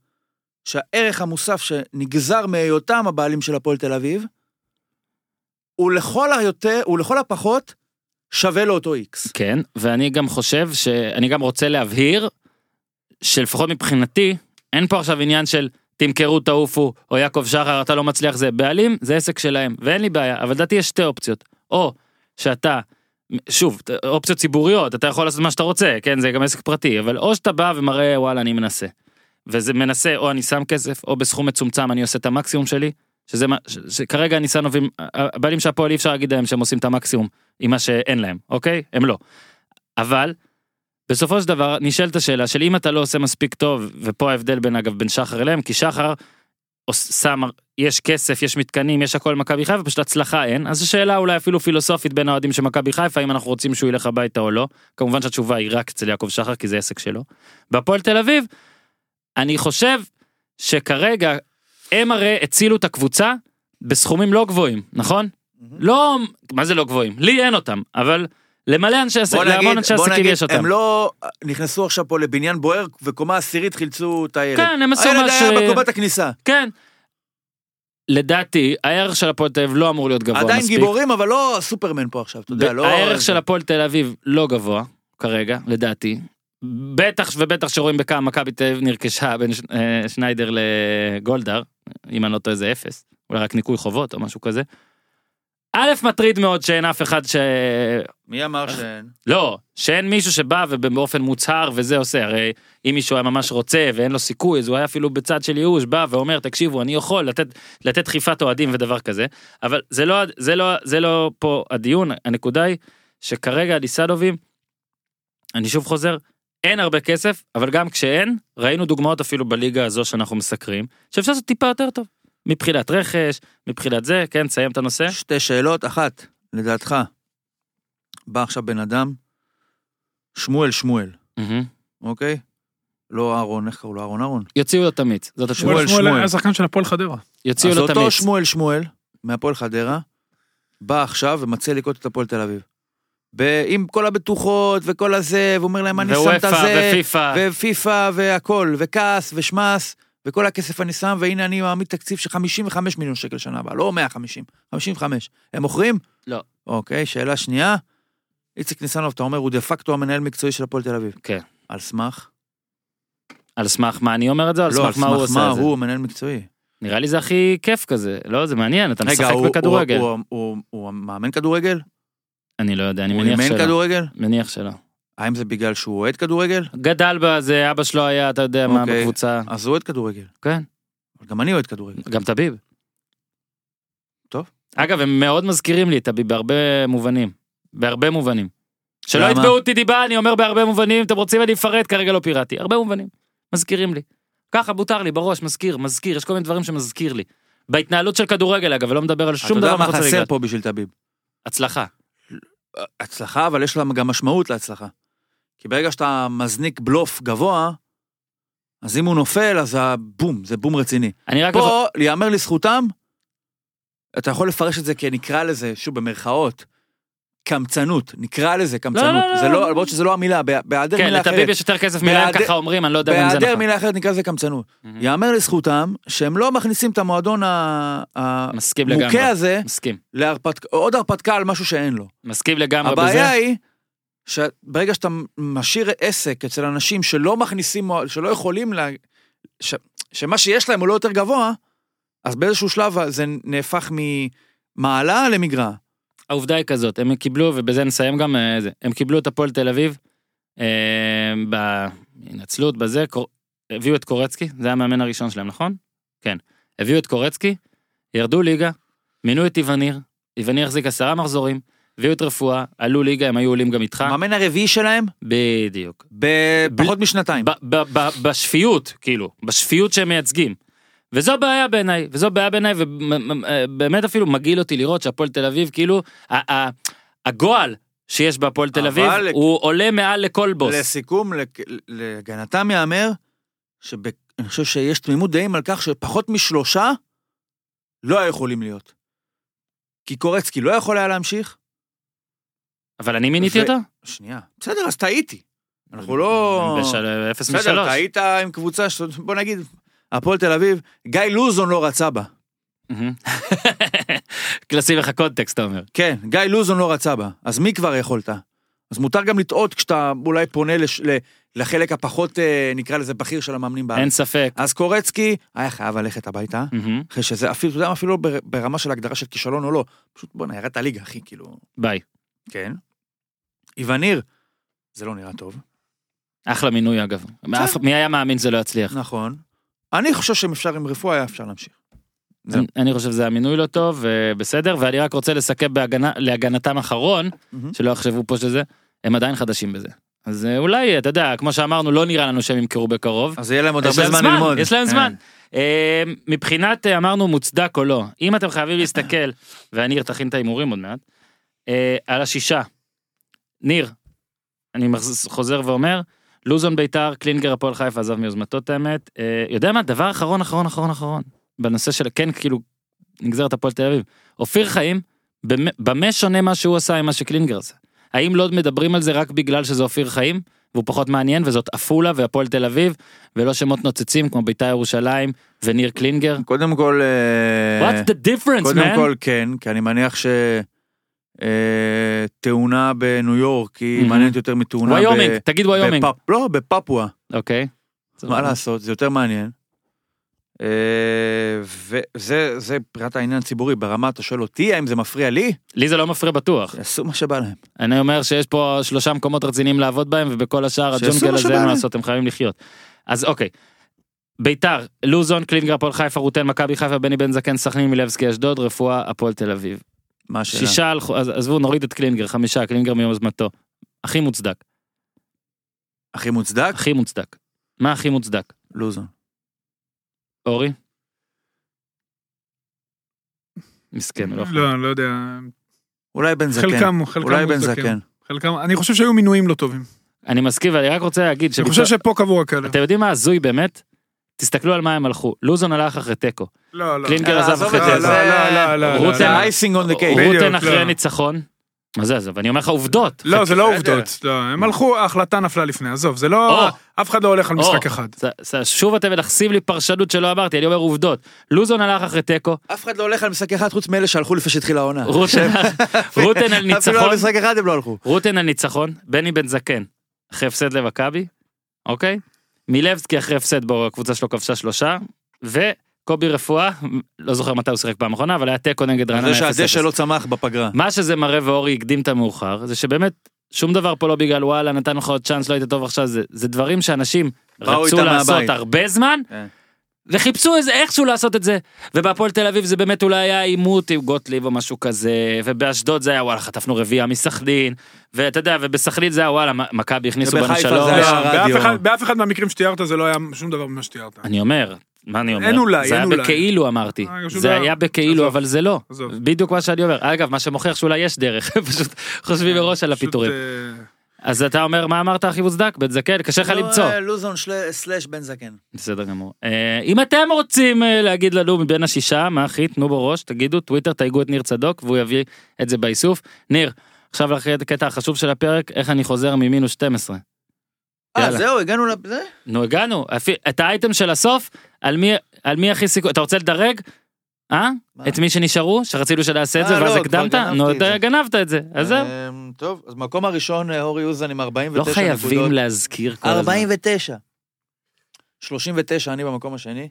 שהערך המוסף שנגזר מהיותם הבעלים של הפועל תל אביב, הוא לכל, היותר, הוא לכל הפחות שווה לאותו X. כן, ואני גם חושב ש... אני גם רוצה להבהיר, שלפחות מבחינתי, אין פה עכשיו עניין של תמכרו תעופו, או יעקב שחר אתה לא מצליח זה, בעלים זה עסק שלהם, ואין לי בעיה, אבל לדעתי יש שתי אופציות, או שאתה, שוב, אופציות ציבוריות, אתה יכול לעשות מה שאתה רוצה, כן, זה גם עסק פרטי, אבל או שאתה בא ומראה וואלה אני מנסה, וזה מנסה או אני שם כסף, או בסכום מצומצם אני עושה את המקסימום שלי, שזה מה, ש- שכרגע הניסנובים, הבעלים של הפועל אי אפשר להגיד להם שהם עושים את המקסימום עם מה שאין להם, אוקיי? הם לא. אבל, בסופו של דבר נשאלת השאלה של אם אתה לא עושה מספיק טוב, ופה ההבדל בין אגב בין שחר אליהם, כי שחר עוש- שם, יש כסף, יש מתקנים, יש הכל במכבי חיפה, פשוט הצלחה אין, אז זו שאלה אולי אפילו פילוסופית בין האוהדים של מכבי חיפה, אם אנחנו רוצים שהוא ילך הביתה או לא, כמובן שהתשובה היא רק אצל יעקב שחר, כי זה עסק שלו. בהפועל תל אביב, אני חושב שכרגע הם הרי הצילו את הקבוצה בסכומים לא גבוהים, נכון? לא, מה זה לא גבוהים? לי אין אותם, אבל למלא אנשי עסקים, בוא להמון נגיד, אנשי בוא עסקים נגיד, יש אותם. הם לא נכנסו עכשיו פה לבניין בוער, וקומה עשירית חילצו את הילד. כן, הם עשו הילד מה ש- היה בקומת הכניסה. כן. לדעתי הערך של הפועל תל אביב לא אמור להיות גבוה עדיין מספיק. גיבורים, אבל לא סופרמן פה עכשיו, אתה יודע, לא... הערך של הפועל תל אביב לא גבוה כרגע לדעתי. בטח ובטח שרואים בכמה מכבי תל אביב נרכשה בין ש- אה, שניידר לגולדהר אם אני לא טועה זה אפס אולי רק ניקוי חובות או משהו כזה. א', מטריד מאוד שאין אף אחד ש... מי אמר שאין? לא, שאין מישהו שבא ובאופן מוצהר וזה עושה, הרי אם מישהו היה ממש רוצה ואין לו סיכוי, אז הוא היה אפילו בצד של ייאוש, בא ואומר, תקשיבו, אני יכול לתת, לתת דחיפת אוהדים ודבר כזה, אבל זה לא, זה לא, זה לא פה הדיון, הנקודה היא שכרגע הליסדובים, אני שוב חוזר, אין הרבה כסף, אבל גם כשאין, ראינו דוגמאות אפילו בליגה הזו שאנחנו מסקרים, שאפשר לעשות טיפה יותר טוב, מבחינת רכש, מבחינת זה, כן, תסיים את הנושא. שתי שאלות, אחת, לדעתך, בא עכשיו בן אדם, שמואל שמואל, מהמם. אוקיי? לא אהרון, איך קראו לו אהרון אהרון? יוציאו לו את המיץ, זאת התשובה. שמואל, שמואל. היה שחקן של הפועל חדרה. יוציאו אז לו את אותו המיץ. שמואל שמואל, מהפועל חדרה, בא עכשיו ומציע לקלוט את הפועל תל אביב. ב- עם כל הבטוחות וכל הזה, ואומר להם אני שם את ואופ"א הזה, ופיפ"א. ופיפ"א והכל, וכעס ושמאס, וכל הכסף אני שם, והנה אני מעמיד תקציב של 55 מיליון שקל שנה הבאה, לא 150, 55. הם מוכרים? לא. אוקיי, שאלה שנייה. איציק ניסנוב, אתה אומר, הוא דה פקטו המנהל מקצועי של הפועל תל אביב. כן. על סמך? על סמך מה אני אומר את זה, או על לא, על סמך מה הוא סמך עושה מה את זה. הוא מנהל מקצועי. נראה לי זה הכי כיף כזה, לא, זה מעניין, אתה רגע, משחק הוא- הוא- בכדורגל. הוא- הוא- הוא מאמן כדורגל? אני לא יודע, אני הוא מניח אימן שלא. כדורגל? מניח שלא. האם זה בגלל שהוא אוהד כדורגל? גדל בזה, אבא שלו היה, אתה יודע מה, אוקיי. בקבוצה. אז הוא אוהד כדורגל. כן, אבל גם אני אוהד כדורגל. גם טביב. טוב. אגב, הם מאוד מזכירים לי את טביב בהרבה מובנים. בהרבה מובנים. שלא למה? יתבעו אותי דיבה, אני אומר בהרבה מובנים, אם אתם רוצים אני אפרט, כרגע לא פיראטי. הרבה מובנים. מזכירים לי. ככה מותר לי בראש, מזכיר, מזכיר, יש כל מיני דברים שמזכיר לי. בהתנהלות של כדורגל אגב, ולא מדבר על אתה שום יודע דבר מה מחוץ לליגה. חסר פה בשביל טביב? הצלחה. הצלחה, אבל יש לה גם משמעות להצלחה. כי ברגע שאתה מזניק בלוף גבוה, אז אם הוא נופל, אז הבום, זה בום רציני. אני רק... יכול- פה, להיאמר לזכותם, אתה יכול לפרש את זה כנקרא לזה, שוב במרכאות, קמצנות, נקרא לזה לא, קמצנות. לא, זה לא. לא, למרות שזה לא המילה, בה- בהיעדר כן, מילה לטביב אחרת. יש יותר כסף מלהם, בהיעדר- ככה אומרים, אני לא יודע אם זה בהיעדר נכון. מילה אחרת נקרא לזה קמצנות. מהמם. ייאמר לזכותם שהם לא מכניסים את המועדון ה- ה- מסכים לגמרי. המוכה הזה מסכים. להרפתקה, עוד הרפתקה על משהו שאין לו. מסכים לגמרי בזה. הבעיה היא שברגע שאתה משאיר עסק אצל אנשים שלא מכניסים, שלא יכולים, לה, ש, שמה שיש להם הוא לא יותר גבוה, אז באיזשהו שלב זה נהפך ממעלה למגרע. העובדה היא כזאת, הם קיבלו, ובזה נסיים גם אה, זה, הם קיבלו את הפועל תל אביב, אה, בהינצלות, בזה, קור... הביאו את קורצקי, זה היה המאמן הראשון שלהם, נכון? כן. הביאו את קורצקי, ירדו ליגה, מינו את איווניר, איווניר החזיק עשרה מחזורים, הביאו את רפואה, עלו ליגה, הם היו עולים גם איתך. המאמן הרביעי שלהם, בדיוק. בפחות משנתיים. אה. ב- ב- ב- בשפיות, כאילו, בשפיות שהם מייצגים. וזו בעיה בעיניי, וזו בעיה בעיניי, ובאמת אפילו מגעיל אותי לראות שהפועל תל אביב, כאילו, ה- ה- הגועל שיש בהפועל תל אביב, אבל- הוא עולה מעל לכל בוס. לסיכום, לק- להגנתם ייאמר, שאני חושב שיש תמימות דעים על כך שפחות משלושה לא היה יכולים להיות. כי קורצקי לא יכול היה להמשיך. אבל אני מיניתי ו- אותו? שנייה. בסדר, אז טעיתי. אנחנו לא... בשל- אפס בסדר, משלוש. אתה היית עם קבוצה, ש- בוא נגיד, הפועל תל אביב, גיא לוזון לא רצה בה. מהמם. לשים לך קונטקסט, אתה אומר. כן, גיא לוזון לא רצה בה. אז מי כבר יכולת? אז מותר גם לטעות כשאתה אולי פונה לש- ל- לחלק הפחות, אה, נקרא לזה, בכיר של המאמנים בארץ. אין ספק. אז קורצקי היה חייב ללכת הביתה, מהמם. אחרי שזה אפילו, אתה יודע מה, אפילו לא בר- ברמה של הגדרה של כישלון או לא, פשוט בואנה, ירדת ליגה, אחי, כאילו, ביי. כן. איווניר, זה לא נראה טוב. אחלה מינוי אגב. אף- מי היה מאמין שזה לא יצליח? נכון. אני חושב שאם אפשר עם רפואה, היה אפשר להמשיך. זהו. אני- אני חושב שזה המינוי לא טוב, ובסדר, ואני רק רוצה לסכם בהגנה- להגנתם אחרון, מהמם. שלא יחשבו פה שזה, הם עדיין חדשים בזה. אז אה, אולי, אתה יודע, כמו שאמרנו, לא נראה לנו שהם ימכרו בקרוב. אז יהיה להם עוד יש הרבה להם זמן ללמוד. יש להם כן. זמן. אה, מבחינת, אה, אמרנו, מוצדק או לא, אם אתם חייבים להסתכל, וניר תכין את ההימורים עוד מעט, אה, על השישה. ניר, אני מחז- חוזר ואומר, לוזון ביתר, קלינגר הפועל חיפה עזב מיוזמתו את האמת. אה, יודע מה, דבר אחרון, אחרון, אחרון, אחרון. בנושא של, כן, כאילו, נגזרת הפועל תל אביב. אופיר חיים, במ- במה שונה מה שהוא עשה עם מה שקלינגר עשה? האם לא מדברים על זה רק בגלל שזה אופיר חיים, והוא פחות מעניין, וזאת עפולה והפועל תל אביב, ולא שמות נוצצים כמו ביתר ירושלים וניר קלינגר? קודם כל, אה, What's the difference, קודם man? כל כן, כי אני מניח ש... אה, תאונה בניו יורק היא Mhm. מעניינת יותר מתאונה ויומינג, ב- תגיד ויומינג. בפפ- לא, בפפואה. אוקיי. מה לעשות, זה יותר מעניין. אה, וזה זה פרט העניין הציבורי, ברמה אתה שואל אותי האם זה מפריע לי, לי זה לא מפריע בטוח. יעשו מה שבא להם. אני אומר שיש פה שלושה מקומות רציניים לעבוד בהם ובכל השאר שיעשו הג'ונגל מה הזה שבא אין מה להם. לעשות הם חייבים לחיות. אז אוקיי. ביתר, לוזון, קלינגר, הפועל חיפה, רוטן, מכבי חיפה, בני בן זקן, סכנין, מילבסקי, אשדוד, רפואה, הפועל תל אביב. מה השאלה? שישה הלכו, אז עזבו, נוריד את קלינגר, חמישה, קלינגר מיום יוזמתו. הכי מוצדק, הכי מוצדק? הכי מוצדק. מה הכי מוצדק? לוזון. אורי? מסכן, הוא לא יכול. לא, אני לא יודע. אולי בן זקן. חלקם, חלקם אולי בן מוצדקים. זקן. חלקם, אני חושב שהיו מינויים לא טובים. אני מסכים, ואני רק רוצה להגיד אני שביתר- חושב שפה קבוע כאלה. אתם יודעים מה הזוי באמת? תסתכלו על מה הם הלכו. לוזון הלך אחרי תיקו. לא, לא. קלינגר אה, עזב עזוב אוקיי, אחרי את זה, תיקו. זה- לא, לא, לא, רוטן- זה icing on the cake. בדיוק, רוטן לא. אחרי ניצחון. מה זה עזוב? אני אומר לך עובדות. לא, זה לא בסדר. עובדות. לא, הם הלכו, ההחלטה נפלה לפני, עזוב, זה לא... או. אף אחד לא הולך על משחק או, אחד. זה- זה- שוב אתם מנכסים לי פרשנות שלא אמרתי, אני אומר עובדות. לוזון הלך אחרי תיקו, אף אחד לא הולך על משחק אחד חוץ מאלה שהלכו לפני שהתחילה העונה. רוטן כן. רוטן על אפילו על ניצחון, משחק אחד הם לא הלכו. רוטן על ניצחון, בני בן זקן, אחרי הפסד למכבי, אוקיי? מילבסקי אחרי הפסד בו הקבוצה שלו כבשה שלושה, וקובי רפואה, לא זוכר מתי הוא שיחק פעם אחרונה, אבל היה תיקו נגד רעננה זה 0-0. שהדשא לא צמח בפגרה. מה שזה מראה ואורי הקדים את המאוחר זה שבאמת שום דבר פה לא בגלל וואלה נתן לך עוד צ'אנס לא היית טוב עכשיו זה, זה דברים שאנשים באו רצו איתם לעשות מהבית. הרבה זמן כן. וחיפשו איזה איכשהו לעשות את זה ובהפועל תל אביב זה באמת אולי היה עימות עם גוטליב או משהו כזה ובאשדוד זה היה וואלה חטפנו רביעייה מסכנין ואתה יודע ובסכנין זה היה וואלה מ- מכבי הכניסו בנו ובחיפה שלוש. זה היה- לא, הרדיו. באף אחד- באף אחד מהמקרים שתיארת זה לא היה שום דבר ממה שתיארת. אני אומר, מה אני אומר? אין אולי, זה אין היה אולי. בכאילו אמרתי. אה, פשוט זה לא- היה בכאילו, עזוב. אבל זה לא. עזוב. בדיוק מה שאני אומר. אגב, מה שמוכיח שאולי יש דרך, פשוט חושבים מראש על פשוט, הפיטורים. אה, אז אתה אומר, מה אמרת הכי מוצדק? בן זקן, קשה לך למצוא. לא, אה, לוזון סלאש בן זקן. בסדר גמור. אה, אם אתם רוצים אה, להגיד לנו מבין השישה, מה אחי, תנו בו ראש, תגידו, טוויטר, תייגו את ניר צדוק, והוא יביא את זה באיסוף. ניר, עכשיו אחרי הקטע החשוב של הפרק, איך אני חוזר ממינוס 12. אה, יאללה. זהו, הגענו לזה? נו, הגענו. אפי- את האייטם של הסוף, על מי- על מי הכי סיכוי, אתה רוצה לדרג? אה? מה? את מי שנשארו? שרצינו שנעשה את אה, זה לא, ואז כבר הקדמת? גנבתי נו, את אתה זה. גנבת את זה. אז זהו. אמ, טוב, אז מקום הראשון, אה, אורי אוזן עם לא 49 נקודות. חייבים להזכיר כל הזמן. 49. 39, אני במקום השני.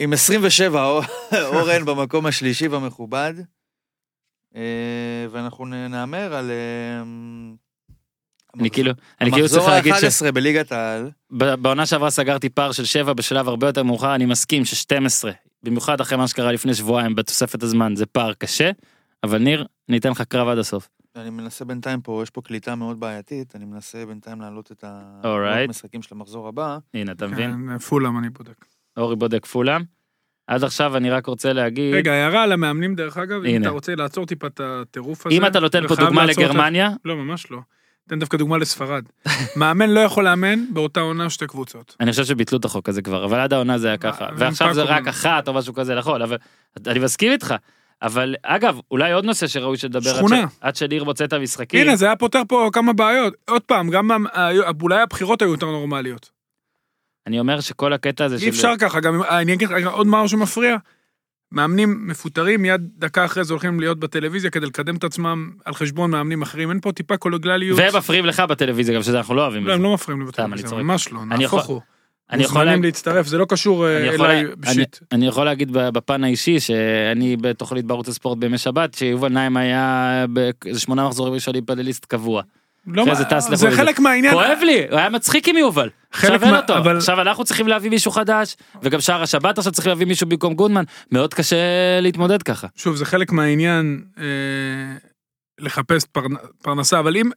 עם 27, אור- אורן במקום השלישי והמכובד. אה, ואנחנו נ- נהמר על... אה, אני כאילו, אני כאילו צריך המחזור להגיד ה-11 בליגת העל. שבעונה שעברה סגרתי פער של 7 בשלב הרבה יותר מאוחר, אני מסכים ש-12, במיוחד אחרי מה שקרה לפני שבועיים בתוספת הזמן, זה פער קשה, אבל ניר, אני אתן לך קרב עד הסוף. אני מנסה בינתיים פה, יש פה קליטה מאוד בעייתית, אני מנסה בינתיים להעלות את ה- Alright. המשחקים של המחזור הבא. הנה, אתה מבין? כן, פולאם אני בודק. אורי בודק פולם. עד עכשיו אני רק רוצה להגיד... רגע, הערה על המאמנים דרך אגב, אם הנה. אתה רוצה לעצור טיפה את הטירוף הזה. אם אתה נותן פה חייב דוגמה לעצור את ה- לגרמניה, לא, ממש לא. תן דווקא דוגמה לספרד. מאמן לא יכול לאמן באותה עונה שתי קבוצות. אני חושב שביטלו את החוק הזה כבר, אבל עד העונה זה היה ככה, אה, ועכשיו זה אין פעם רק קודמת. אחת או משהו כזה נכון, אבל אני מסכים איתך. אבל אגב, אולי עוד נושא שראוי שתדבר עד שכונה. ש- עד שניר מוצא את המשחקים. הנה, זה היה פותר פה כמה בעיות. עוד פעם, גם ה- היו- אולי הבחירות היו יותר נורמליות. אני אומר שכל הקטע הזה אי של... אפשר ככה, גם אם- אה, אני אגיד לך רגע, עוד משהו שמפריע. מאמנים מפוטרים, מיד דקה אחרי זה הולכים להיות בטלוויזיה כדי לקדם את עצמם על חשבון מאמנים אחרים. אין פה טיפה קולוגלליות. ומפריעים לך בטלוויזיה גם שזה אנחנו לא אוהבים. לא, את הם זה. לא מפריעים לי סתם, אני צוחק. בטלוויזיה, ממש לא, אני יכול- נהפוך הוא. אני יכול מוזמנים לה- להצטרף, זה לא קשור אה, אני יכול אליי לה- בשיט. אני יכול להגיד ב- בפן האישי שאני בתוכנית בערוץ הספורט בימי שבת שיובל נעים היה באיזה שמונה מחזורים ראשונים פנליסט קבוע. לא, אחרי מה- זה טס זה לחו"ל. חלק מהעניין. כואב לי, הוא היה מצחיק עם יובל. חלק עכשיו אין מה- אותו. אבל- עכשיו אנחנו צריכים להביא מישהו חדש, וגם שער השבת עכשיו צריך להביא מישהו במקום גודמן, מאוד קשה להתמודד ככה. שוב, זה חלק מהעניין אה, לחפש פרנ- פרנסה, אבל אם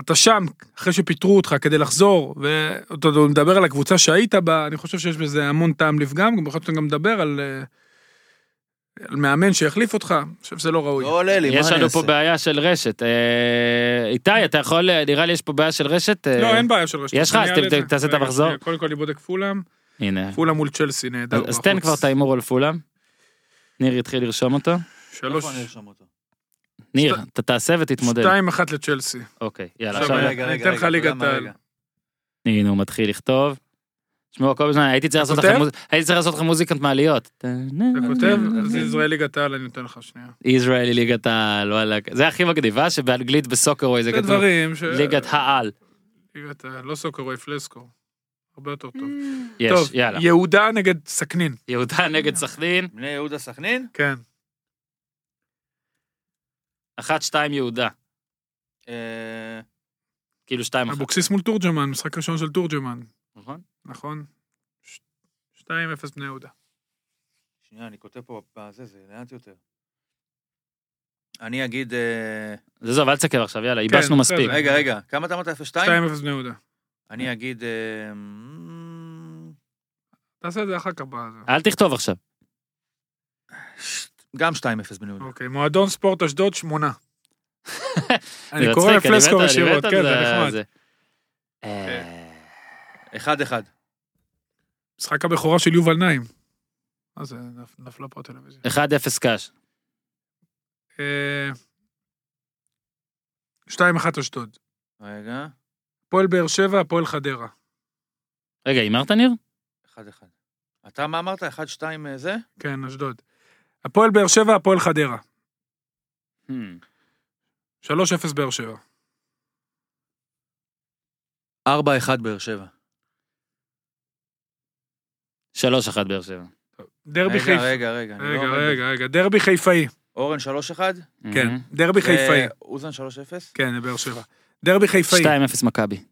אתה שם אחרי שפיטרו אותך כדי לחזור, ואתה עוד מדבר על הקבוצה שהיית בה, אני חושב שיש בזה המון טעם לפגם, גם בכל זאת אתה גם מדבר על אה, על מאמן שהחליף אותך, אני חושב שזה לא ראוי. לא עולה לי, מה אני יש אעשה? לנו פה בעיה של רשת. אה, איתי, אתה יכול, נראה לי יש פה בעיה של רשת. אה, לא, אין בעיה של רשת. יש לך? אני אז אעלה ת- זה. תעשה את רגע, המחזור. שנייה, קודם כל אני בודק פולאם, הנה. פולאם מול צ'לסי, נהדר. אז- אז תן בחוץ. כבר את ההימור על פולאם. ניר יתחיל לרשום אותו. שלוש, נכון, איפה אני ארשום אותו? ניר, שת- אתה תעשה ותתמודד. שתיים אחת לצ'לסי. אוקיי, יאללה. עכשיו, עכשיו רגע, אני אתן לך אתה יודע ליגת מה, העל. רגע. הנה הוא מתחיל לכתוב. שמעו הכל בזמן, הייתי צריך לעשות כותב? לכם מוז- הייתי צריך לעשות לכם מוזיקת מעליות. אתה כותב, אה, אז ישראל ליגת העל, אני נותן לך שנייה. ישראלי ליגת העל, וואלה. לא, זה הכי אה? מגניבה שבאנגלית בסוקרווי זה זה כתוב דברים ש... ליגת העל. ליגת העל, לא סוקרווי, פלסקו. הרבה יותר טוב. Mm. יש, טוב, יאללה. יהודה נגד סכנין, יהודה נגד סכנין, בני יהודה סכנין? כן. 1-2 יהודה. אה, כאילו 2-1. אבוקסיס מול תורג'מן, משחק ראשון של תורג'מן, נכון? נכון? ש- 2-0 בני יהודה. שנייה, אני כותב פה בזה, זה לאט יותר. אני אגיד... אה, זה זוב, אל תסתכל עכשיו, יאללה, כן, ייבשנו מספיק. בסדר. רגע, רגע, כמה אתה אמרת? 0-2? 2-0 בני יהודה. אני אגיד... אה, מ- תעשה את זה אחר כך בזה. אל תכתוב עכשיו. גם 2-0 בני יהודה. אוקיי, מועדון ספורט אשדוד, שמונה. זה אני קורא מצחיק, אני לפלסקו מת- אני ישירות, מת כן, על זה זה- נחמד. זה. 1-1. אה, משחק הבכורה של יובל נעים. אז אה, נפ- נפלה פה הטלוויזיה. 1-0 קאש. אה, 2-1 אשדוד. רגע, הפועל באר שבע, הפועל חדרה. רגע, הימרת ניר? 1-1. אתה מה אמרת? 1-2 אה, זה? כן, אשדוד. הפועל באר שבע, הפועל חדרה. Hmm. 3-0 באר שבע. 4-1 באר שבע. 3-1 באר שבע. דרבי רגע, חיפה. רגע, רגע. אני לא רגע, עומד בזה. רגע, רגע. דרבי חיפאי. אורן 3-1? כן, Mhm. דרבי חיפאי. אוזן 3-0? כן, באר שבע. דרבי חיפאי. 2-0 מכבי.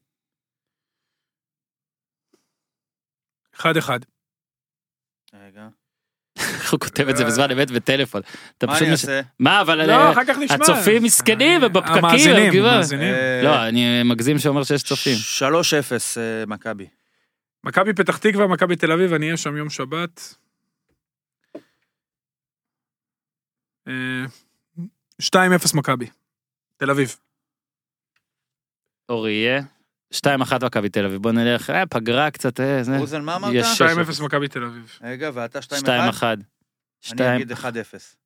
1-1. רגע. איך הוא כותב את זה בזמן אמת בטלפון. אתה אה. מה פשוט... אני מש- אעשה? מה, אבל... לא, אה, אחר כך נשמע. אה, הצופים מסכנים ובפקקים, המאזינים, כאילו. המאזינים. אה, לא, אני מגזים שאומר שיש צופים. 3-0 אה, מכבי. מכבי פתח תקווה, מכבי תל אביב, אני אהיה שם יום שבת. אה, 2-0 מכבי. תל אביב. אוריה. 2-1 מכבי תל אביב. בוא נלך, אה, פגרה קצת, אה, זה. אוזן, מה אמרת? יש 2-0 שש. מכבי תל אביב. רגע, ואתה 2-1? 2-1. אני 2 אגיד 1-0.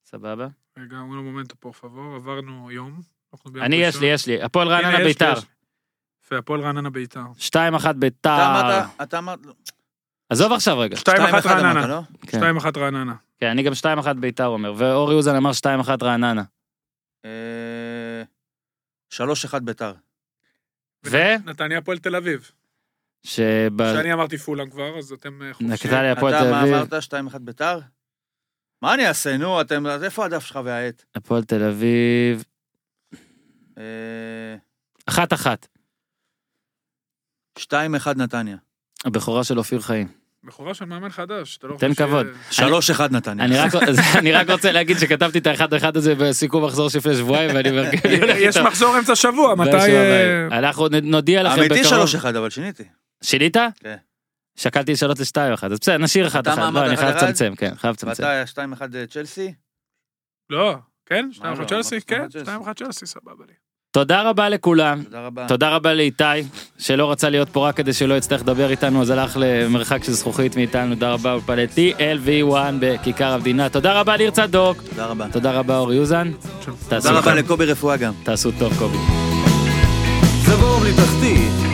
סבבה. רגע, אומרים לו מומנטו פור פבור, עברנו יום. אנחנו ביום אני, יש ראשון. לי, יש לי. הפועל הנה, יש רעננה לי, ביתר. יש לי. יפה, הפועל רעננה ביתר. 2-1 ביתר. אתה אמרת, אתה אמרת, עזוב עכשיו רגע. 2-1 רעננה. אמרת, לא? כן. 2-1 רעננה. כן, אני גם 2-1 ביתר אומר. ואורי אוזן אמר 2-1 רעננה. אה, 3-1 ביתר. ו? נתניה הפועל תל אביב. שב... שאני אמרתי פולאם כבר, אז אתם אה, חופשיים. נקטה לי אתה הפועל תל מה אביב. אמרת? 2-1 ביתר? מה אני אעשה? נו, אתם, אז איפה הדף שלך והעט? הפועל תל אביב. אה, 1-1. 2-1 נתניה. הבכורה של אופיר חיים. בכורה של מאמן חדש. אתה לא תן חושב כבוד. ש- 3-1 נתניה. אני רק, אני רק רוצה להגיד שכתבתי את האחד אחד הזה בסיכום מחזור שלפני שבועיים ואני כאילו, מרגיש לי הולך יש איתו. מחזור אמצע שבוע, מתי... באר שבע אה, בית. אנחנו נ- נודיע לכם אמיתי בקרוב. 3-1, אבל שיניתי. שינית? כן. שקלתי לשנות לשתיים אחד, אז בסדר, נשאיר אחד אתה אחד. אמרת לא, אני חייב אחד אחד? לצמצם, כן, חייב לצמצם. ואתה 2-1 צ'לסי? לא, כן? מה 2-1 לא? צ'לסי? אמרתי כן, 2-1 צ'לסי. 2-1 צ'לסי, סבבה לי. תודה רבה לכולם. תודה רבה. תודה רבה לאיתי, שלא רצה להיות פה רק כדי שלא יצטרך לדבר איתנו, אז הלך למרחק של זכוכית מאיתנו, תודה רבה בפלטי, LV1 בכיכר המדינה, תודה רבה ניר צדוק, תודה רבה. תודה רבה אורי אוזן, תעשו תודה רבה טוב. לקובי רפואה גם. תעשו טוב קובי. זה בור בלי תחתית